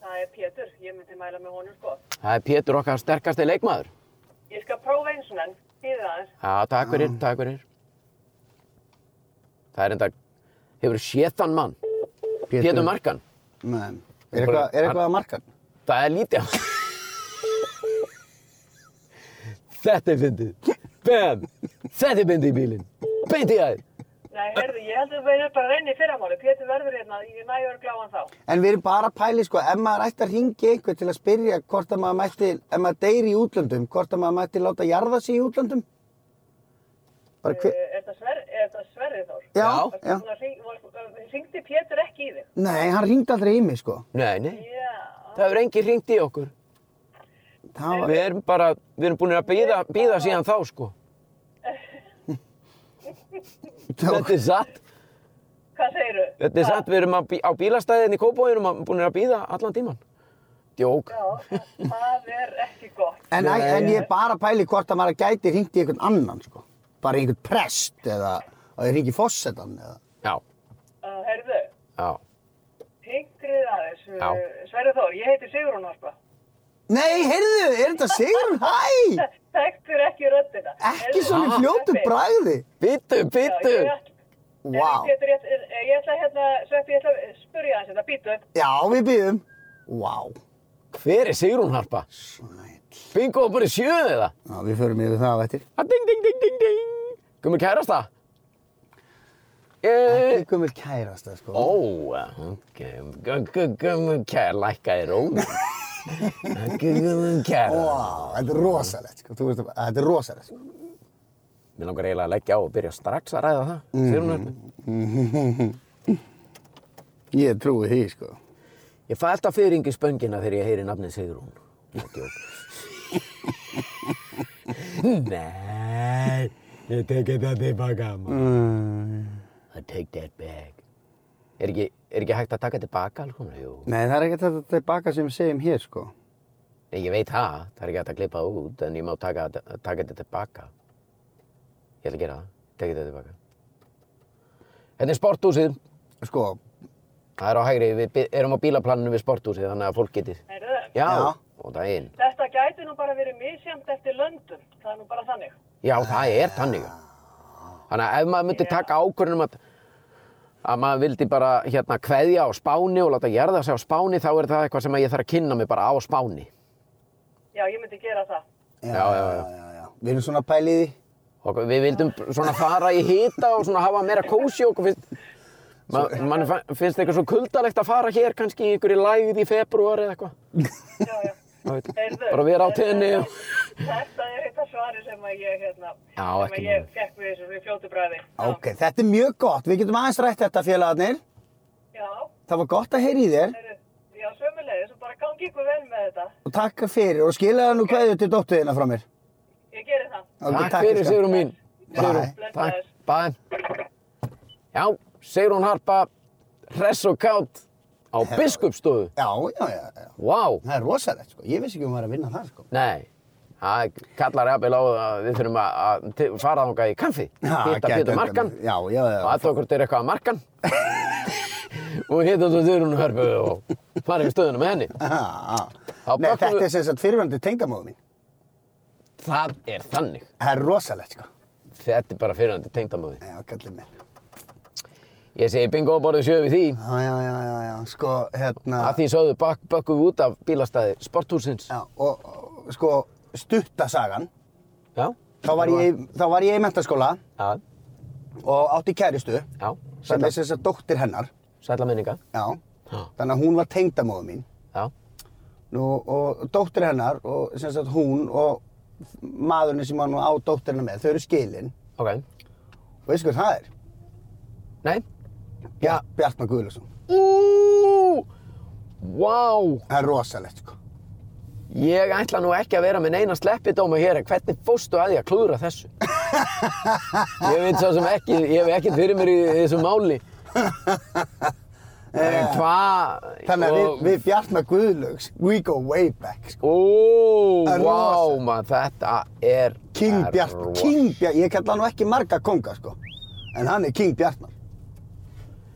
Það er Pétur, ég myndi mæla með honum sko.
Það er Pétur okkar sterkasti leikmaður.
Ég skal prófa eins og enn, býðið aðeins.
Já, takk fyrir, takk fyrir. Það er enda, hefur séð þann mann, Pétur Markan.
Nei. Er eitthvað, er eitthvað að marka hann?
Það er lítið á. Þetta er fyndið. Bam! Þetta er fyndið í bílinn. Beint í aðeins.
Nei, heyrðu, ég held að við erum bara að reyna í fyrramáli. Pétur verður hérna, ég næ örgla á hann þá.
En við erum bara að pæli, sko, ef maður ætti að ringi einhver til að spyrja hvort að maður mætti, ef maður deyri í útlöndum, hvort að maður mætti láta jarða sig í útlöndum? Bara
Eh,
hver...
Er þetta Sverri- er þetta Sverrið Þór?
Já,
Varstu
já.
búin að hring- var- Hringdi Pétur ekki í þig?
Nei, hann ringdi aldrei í mig, sko.
Nei, nei.
Já.
Það hefur enginn ringt í okkur.
Það var...
Við erum bara, við erum búin að býða, býða síðan þá, sko. Þetta er satt.
Hvað segiru?
Þetta er satt. Við erum að bí, á bílastæðinni í Kópavínum að búin að býða allan tíman. Djók.
Já, það- það er ekki gott.
En,
Nei,
en
nei.
ég er bara að pæli hvort að maður gæti ringt í einhvern annan, sko. Bara í einhvern prest eða að ég ringi fósettan eða...
Já,
Uh, Herðu,
já.
hingrið aðeins. eh,
Já.
Uh, Sverrið Þór, ég heiti Sigrún Harpa.
Nei, heyrðu, er þetta Sigrun? Hæ!
Þekktur ekki röddina.
Ekki svona í fljótu bragði.
Bittu, bittu.
Vá.
Ég, ég, ég ætla hérna, Sveppi, ég ætla að hérna, spurja hans þetta, býtu.
Já, við býðum. Vá.
Hver er Sigrún Harpa?
Snæll.
Bingo var bara í sjöðu eða?
Já, við förum yfir það á eftir.
Ha, Ding, ding, ding, ding, ding. Gummi kærasta? Eh,
Ekki gömul kærasta, sko.
Ó, ok. Gu- gu- Gummi kær, lækkaði róna. Gummi kær.
Vá, þetta er rosalegt, sko. Þú veist að þetta er rosalegt, sko.
Mér langar eiginlega að leggja á og byrja strax að ræða það. Sigrún Harpa.
Ég trúi því, sko.
Ég fæ alltaf fyrringi spöngina þegar ég heyri nafnið Sigrún. Ég djók. Nei, ég teki það tilbaka, maður.
Mm.
I take that back. Er ekki, er ekki hægt að taka tilbaka alls konar? Jú.
Nei, það er ekkert þetta tilbaka sem við segjum hér, sko.
Nei, ég veit það. Það er ekki hægt að klippa það út, en ég má taka, taka þetta tilbaka. Ég ætla að gera það. Teki þetta tilbaka. Þetta er sporthúsið.
Sko,
Það er á hægri. Við bi- erum á bílaplaninu við sporthúsið, þannig að fólk getið.
Heyrðu,
Já,
Já.
og það er inn.
Þetta gæti nú bara verið misjæmt eftir löndum. Það er nú bara þannig.
Já, það er þannig. Þannig að ef maður myndi taka ákvörðunum að, að maður vildi bara hérna kveðja á Spáni og láta gerða sig á Spáni, þá er það eitthvað sem ég þarf að kynna mig bara á Spáni.
Já, ég myndi gera það.
já,
Já, já, já.
já, já. Við erum svona pæliði.
Og við vildum svona fara í hita og svona hafa meira kósi og okkur finnst, man, man finnst eitthvað svo kuldalegt að fara hér kannski í einhverju lægð í februar eða eitthvað.
Já, já.
Það veit-
Heyrðu,
Bara vera á tenni og...
Þetta er eitthvað svari sem að ég, hérna,
Já,
sem
ekki
að ég
mál.
fekk við þessu við fljótu bræði.
Ok, þetta er mjög gott. Við getum aðeins rætt þetta, félagarnir.
Já,
Það var gott að heyri í þér
heyrðu, já, sömulegis og bara gangi ykkur vel með þetta.
og takk fyrir og skilaðu nú kveðju til dóttuðina frá mér. sko.
Ég geri það.
Ok,
Takk fyrir
elskan.
Sigrún mín.
Bye.
Sigrún, takk. Bæ. Já, Sigrún Harpa, hress og kátt á biskupstofu.
Já, já, já, já.
Vá, wow.
Það er rosalegt, sko. Ég vissi ekki um að vera að vinna það, sko.
nei. Það kallar jafnvel á að við þurfum að- að til- fara þangað í kaffi. Hitta
gæti
Pétur
þetta
Markan
verið. Já, já, já.
og aðtökur til eitthvað að Markan. og hitta þú Sigrún Harpa og fara í stöðuna með henni.
Aha, aha.
Þá
Nei,
bökkum
þetta
við-
er sem sagt fyrirvændi tengdamóðu mín.
Það er þannig.
Það er rosalegt, sko.
Þetta er bara fyrirhandi tengdamóði.
Já, kallið minn.
Ég segi bingo á borðið sjö við því.
Já, já, já, já, já. Sko, hérna...
Að því sögðu bak, bakkuð út af bílastæði sporthúsins.
Já, og, og sko, stuttasagan.
Já.
Þá var ég, þá var ég í mentaskóla
Já,
og átti kæristu
já.
sem
Sætla,
er sem sagt dóttir hennar.
sætla minninga.
Já.
Já.
Þannig að hún var tengdamóðu mín.
Já,
Nú, og dóttir hennar og sem sagt hún og maðurinn sem var nú á dóttirina með, þau eru skilin.
ok.
Og veistu hvað það er?
Nei.
Já. Bjartmar Guðlason.
Úúúú! Vá!
Það er rosalegt, sko.
Ég ætla nú ekki að vera með neina sleppidóma hér en hvernig fóstu að því að klúðra þessu? ég veit svo sem ekki, ég hef ekkert fyrir mér í þessu máli. En hvað?
Eh, Þannig að við, við Bjartmar Guðlöks, we go way back, sko.
Ó,
Það er
vá,
rosa.
maður, þetta er...
King
er
Bjartmar,
rosa.
King Bjartmar, ég kalla hann nú ekki marga konga, sko. En hann er King Bjartmar.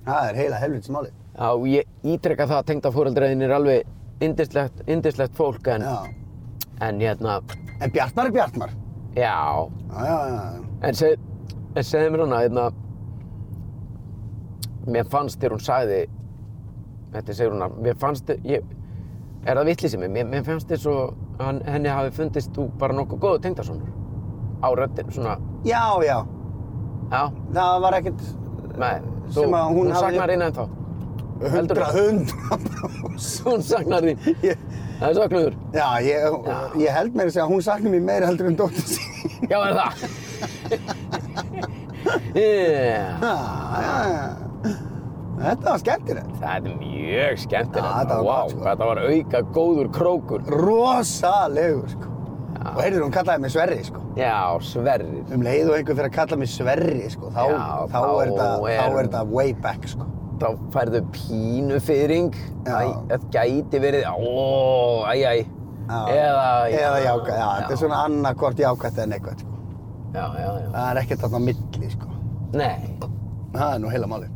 Það er heila helvits málið.
Já, ég ítrekka það að tengda fóröldræðin er alveg indislegt, indislegt fólk en,
Já.
en hérna,
En Bjartmar er Bjartmar.
já,
Já, já, já, já.
En seg, en segðu mér hana, hérna, mér fannst þegar hún sagði, þetta segir hún að, mér fannst, ég, er það vittlísið mér, mér, mér fannst þér svo, hann, henni hafi fundist þú bara nokkuð góðu tengdasonur á röddinn, svona,
Já, já.
já,
Það var ekkert
með, þú,
Sem að hún
hún,
hafði-
saknar þín ennþá, Heldurðu?
hundra, hundra brós.
hún saknar þín,
Ég,
það er söknuður,
Já, ég, ég held meira að segja að hún saknar mér meira heldur en dóttir sín.
já er það, yeah.
Já, já, já. Þetta var skemmtilegt.
það er mjög skemmtilegt,
Já, þetta var
Vá,
gott, sko.
þetta var auka góður krókur,
Rosalegur, sko. Og heyrður, hún kallaði mig Sverri, sko.
já, sverrir.
Um leið og einhver fyrir að kalla mig Sverri, sko, þá,
Já,
þá,
þá
er það,
er-
þá er það way back, sko.
þá færðu pínu fyrring
Já.
það gæti verið ó, æj, æj
Já.
eða,
Eða jákvæmt, já, þetta er svona annarkvort jákvæmt eða neikvæmt, sko.
já, já, já,
Það er ekkert þarna á milli, sko.
nei
Það er nú heila málið.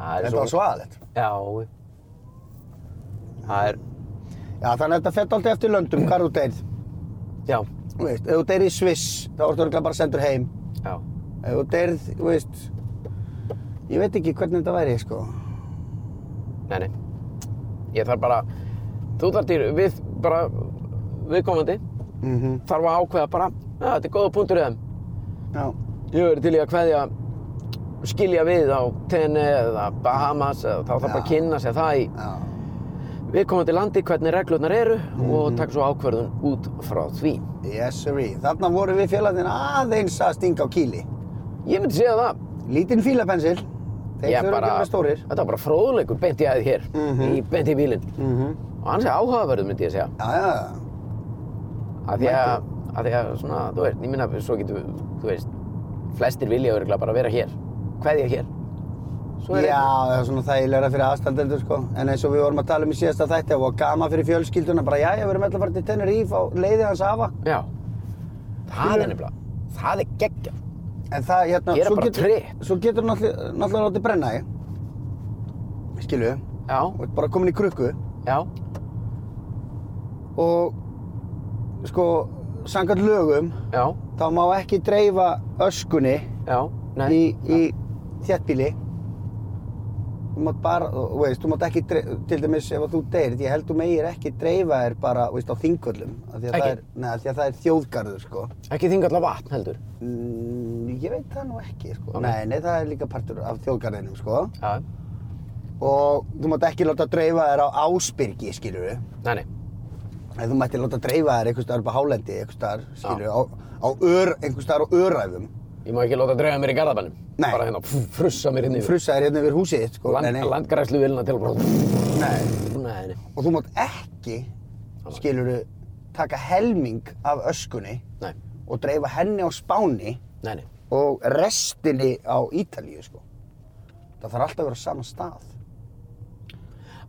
það er
Þetta var svaðalegt.
já það er
Já, þannig að þetta fett alltaf eftir löndum, hvar þú deyrð.
Já,
Þú veist, ef þú deyrð í Sviss, þá ertu örgulega bara sendur heim.
já.
Ef þú deyrð, þú veist, ég veit ekki hvernig þetta væri, sko.
Nei, nei. Ég þarf bara, þú þarf til, við bara, viðkomandi,
Mhm.
þarf að ákveða bara, já, þetta er góða punktur í þeim.
Já.
Ég verður til í að kveðja, skilja við á Tene eða Bahamas, eða þá þarf bara að
Já.
kynna sér það í
Já.
viðkomandi landi hvernig reglurnar eru
Mhm.
og taka svo ákverðun út frá því.
Yes, sirree. Þarna voru við félagin aðeins að stinga á kíli.
Ég myndi segja það.
Lítinn fílapensil. Þeir
Ég
þurfa ekki að vera stórir.
Þetta var bara fróðleikur beint í aðeins hér,
Mhm.
í, beint í bílinn.
Mm -hmm.
Og hans er áhugaverður myndi ég segja.
Já, já, já.
Af því að, af því að svona, þú veist, ég minna, svo getur, þú veist, flestir vilja örgulega bara vera hér, kveðja hér. Svo er
Já, það er svona þægilegra fyrir aðstandendur sko. En eins og við vorum að tala um í síðasta þætti og gama fyrir fjölskylduna, bara jæja, við erum alltaf að fara til Tenerife á leiði hans afa.
einn- Já. Það er nefnilega, það er geggja.
En það, hérna,
Gera
svo
bara
getur,
tré.
svo getur náttúrulega náttúrulega látið brenna þig. Skilu,
Já,
og ert bara komin í krukku
já,
og sko, sangat lögum,
já,
þá má ekki dreifa öskunni
já, nei.
í, í þéttbíli. Þú mátt bara, þú veist, þú mátt ekki, dre- til dæmis ef að þú deyrir, ég held þú megir ekki dreifa þér bara, þú veist, á þingvöllum. Af Því að það
Ekki?
er, nei, af því að það er þjóðgarður, sko.
Ekki þingar allavega vatn heldur.
Mm, ég veit það nú ekki, sko.
Ok.
Nei, nei, það er líka partur af þjóðgarðinum, sko.
Já,
Og þú mátt ekki láta dreifa þér á ásbyrgi, skilur við.
nei, nei,
En þú mætti láta dreifa þér einhvers staðar upp á hálendi, einhvers staðar, skilur við, á, á ör, einhvers staðar á öræfum.
ég má ekki láta að dreifa mér í garðabænum.
Nei.
Bara hérna, pff, frussa mér hérna yfir.
Frussa þér hérna yfir húsið, þitt, sko.
Land, Landgræslu vilna til bara, pff,
Nei.
nei, nei,
og þú mátt ekki, skilur taka helming af öskunni
nei,
og dreifa henni á Spáni
nei, nei.
og restinni á Ítalíu, sko. Það þarf alltaf að vera á sama stað.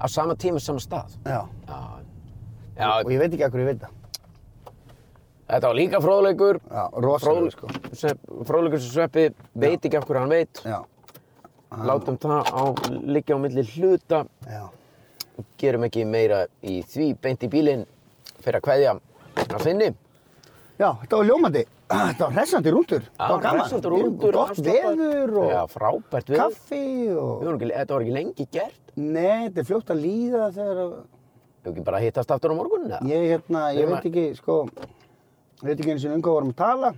Á sama tíma, sama stað.
Já.
Já, já,
Og ég veit ekki af hverju ég veit það.
þetta var líka fróðleikur.
Já, rosalega, sko.
Fróðleikur sem sveppi veit ekki af hverju hann veit
Já,
látum það á liggja á milli hluta
já.
gerum ekki meira í því beint í bílinn fyrir að kveðja að finni
Já, þetta var ljómandi. Þetta var hressandi rúndur. Þetta var gaman.
hressandi rúndur,
Gott
afslappaður.
veður og
já, frábært veður
kaffi
Við
og...
vorum ekki, þetta var ekki lengi gert
Nei, þetta er fljótt að líða þegar að...
við ekki bara að hittast aftur á morgun eða?
Ég, hérna,
Við
ég
erum
veit ekki, sko... Ég veit ekki eins og um hvað við vorum að tala.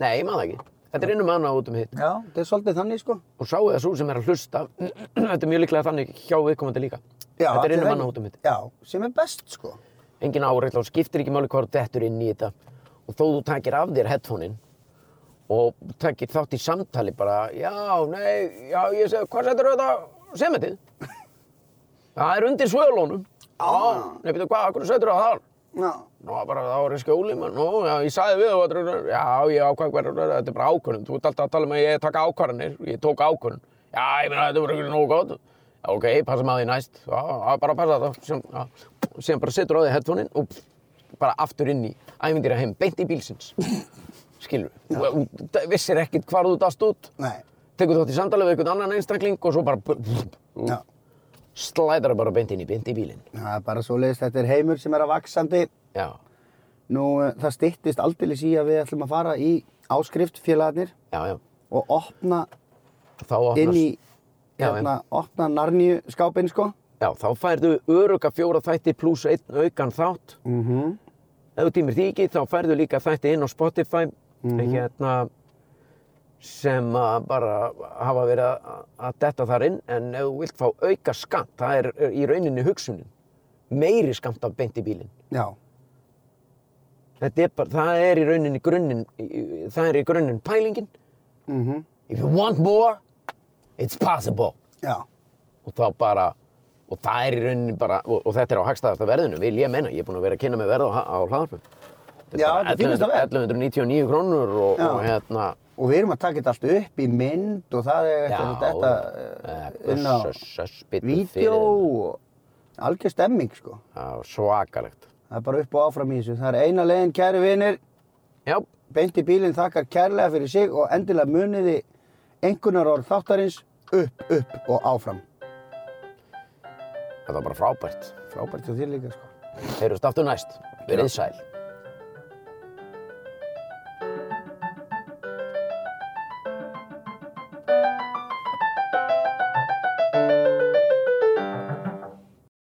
nei, ég maður það ekki þetta er innum annað út um hitt
Já. Þetta er svolítið þannig, sko.
og sáu það svo sem er að hlusta þetta er mjög líklega þannig hjá viðkomandi líka
Já,
þetta er
allir
innum
vegna.
annað út um hitt
Já, sem er best sko.
engin áreitla og skiptir ekki máli hvað þú dettur inn í þetta og þó þú takir af þér headphone-in og takir þátt í samtali bara já, nei, já, ég segi, hvað setur þetta semetið? það er undir svölunum já,
Ah.
nei, betur hvað, hvað setur það þar?
Já.
Nó, bara það var í skjóli, mann, nú, já, ég sagði við og það, já, ég ákvæði hverju, þetta er bara ákvörðun, þú ert alltaf að tala um að ég taka ákvarðanir, ég tók ákvörðun, já, ég meina, þetta voru ekki nógu góð, já, ok, passa maður því næst, já, já, bara passa það, sem, já, sem bara setur á því headphone-in og pff, bara aftur inn í æfindýra heim, beint í bílsins, skilur, þú þú vissir ekkit hvar þú dast út,
Nei.
tekur þátt í samtalið við einhvern annan einstakling og svo bara, pff,
Já.
slæðar það bara beint inn í, beint í bílinn,
Það er bara svo leiðist, þetta er heimur sem er að vaksandi.
já,
Nú, eh, það styttist aldeilis í að við ætlum að fara í áskrift félagarnir
já, já,
og opna
þá opnast...
inn í,
Já,
hérna, opna narníu skápinn sko.
Já, þá færðu öruga fjóra þætti pluss einn aukan þátt.
Mm -hmm.
Ef þú tímir því ekki, þá færðu líka þætti inn á Spotify hérna, sem að bara hafa verið að- að detta þar inn. En ef þú vilt fá auka skamt, það er er í rauninni hugsunin. Meiri skamt af beint í bílinn.
Já.
Þetta er bara, það er í rauninni grunninn, í- í- það er í grunninn pælingin.
Mm
If you want more, it's possible.
Já.
og þá bara og það er í rauninni bara og, og þetta er á hagstæðasta verðinu, vil ég menna ég er búinn að vera að kynna með verð á, ha- á hlaðarpum
Já, þetta er fínasta verð.
1199 krónur og,
Já.
og hérna
Og við erum að taka þetta allt upp í mynd og það er eftir að þetta eh, inn á vídeo og algjör stemming sko.
svakalegt
Það er bara upp og áfram í þessu. Það er eina leiðin, kæri vinir,
já,
Beint í bílinn þakkar kærlega fyrir sig og endilega muniði einhvernar orð þáttarins upp, upp og áfram.
þetta var bara frábært
Frábært hjá þér líka, sko.
Heyrjumst aftur næst. Verið sæl.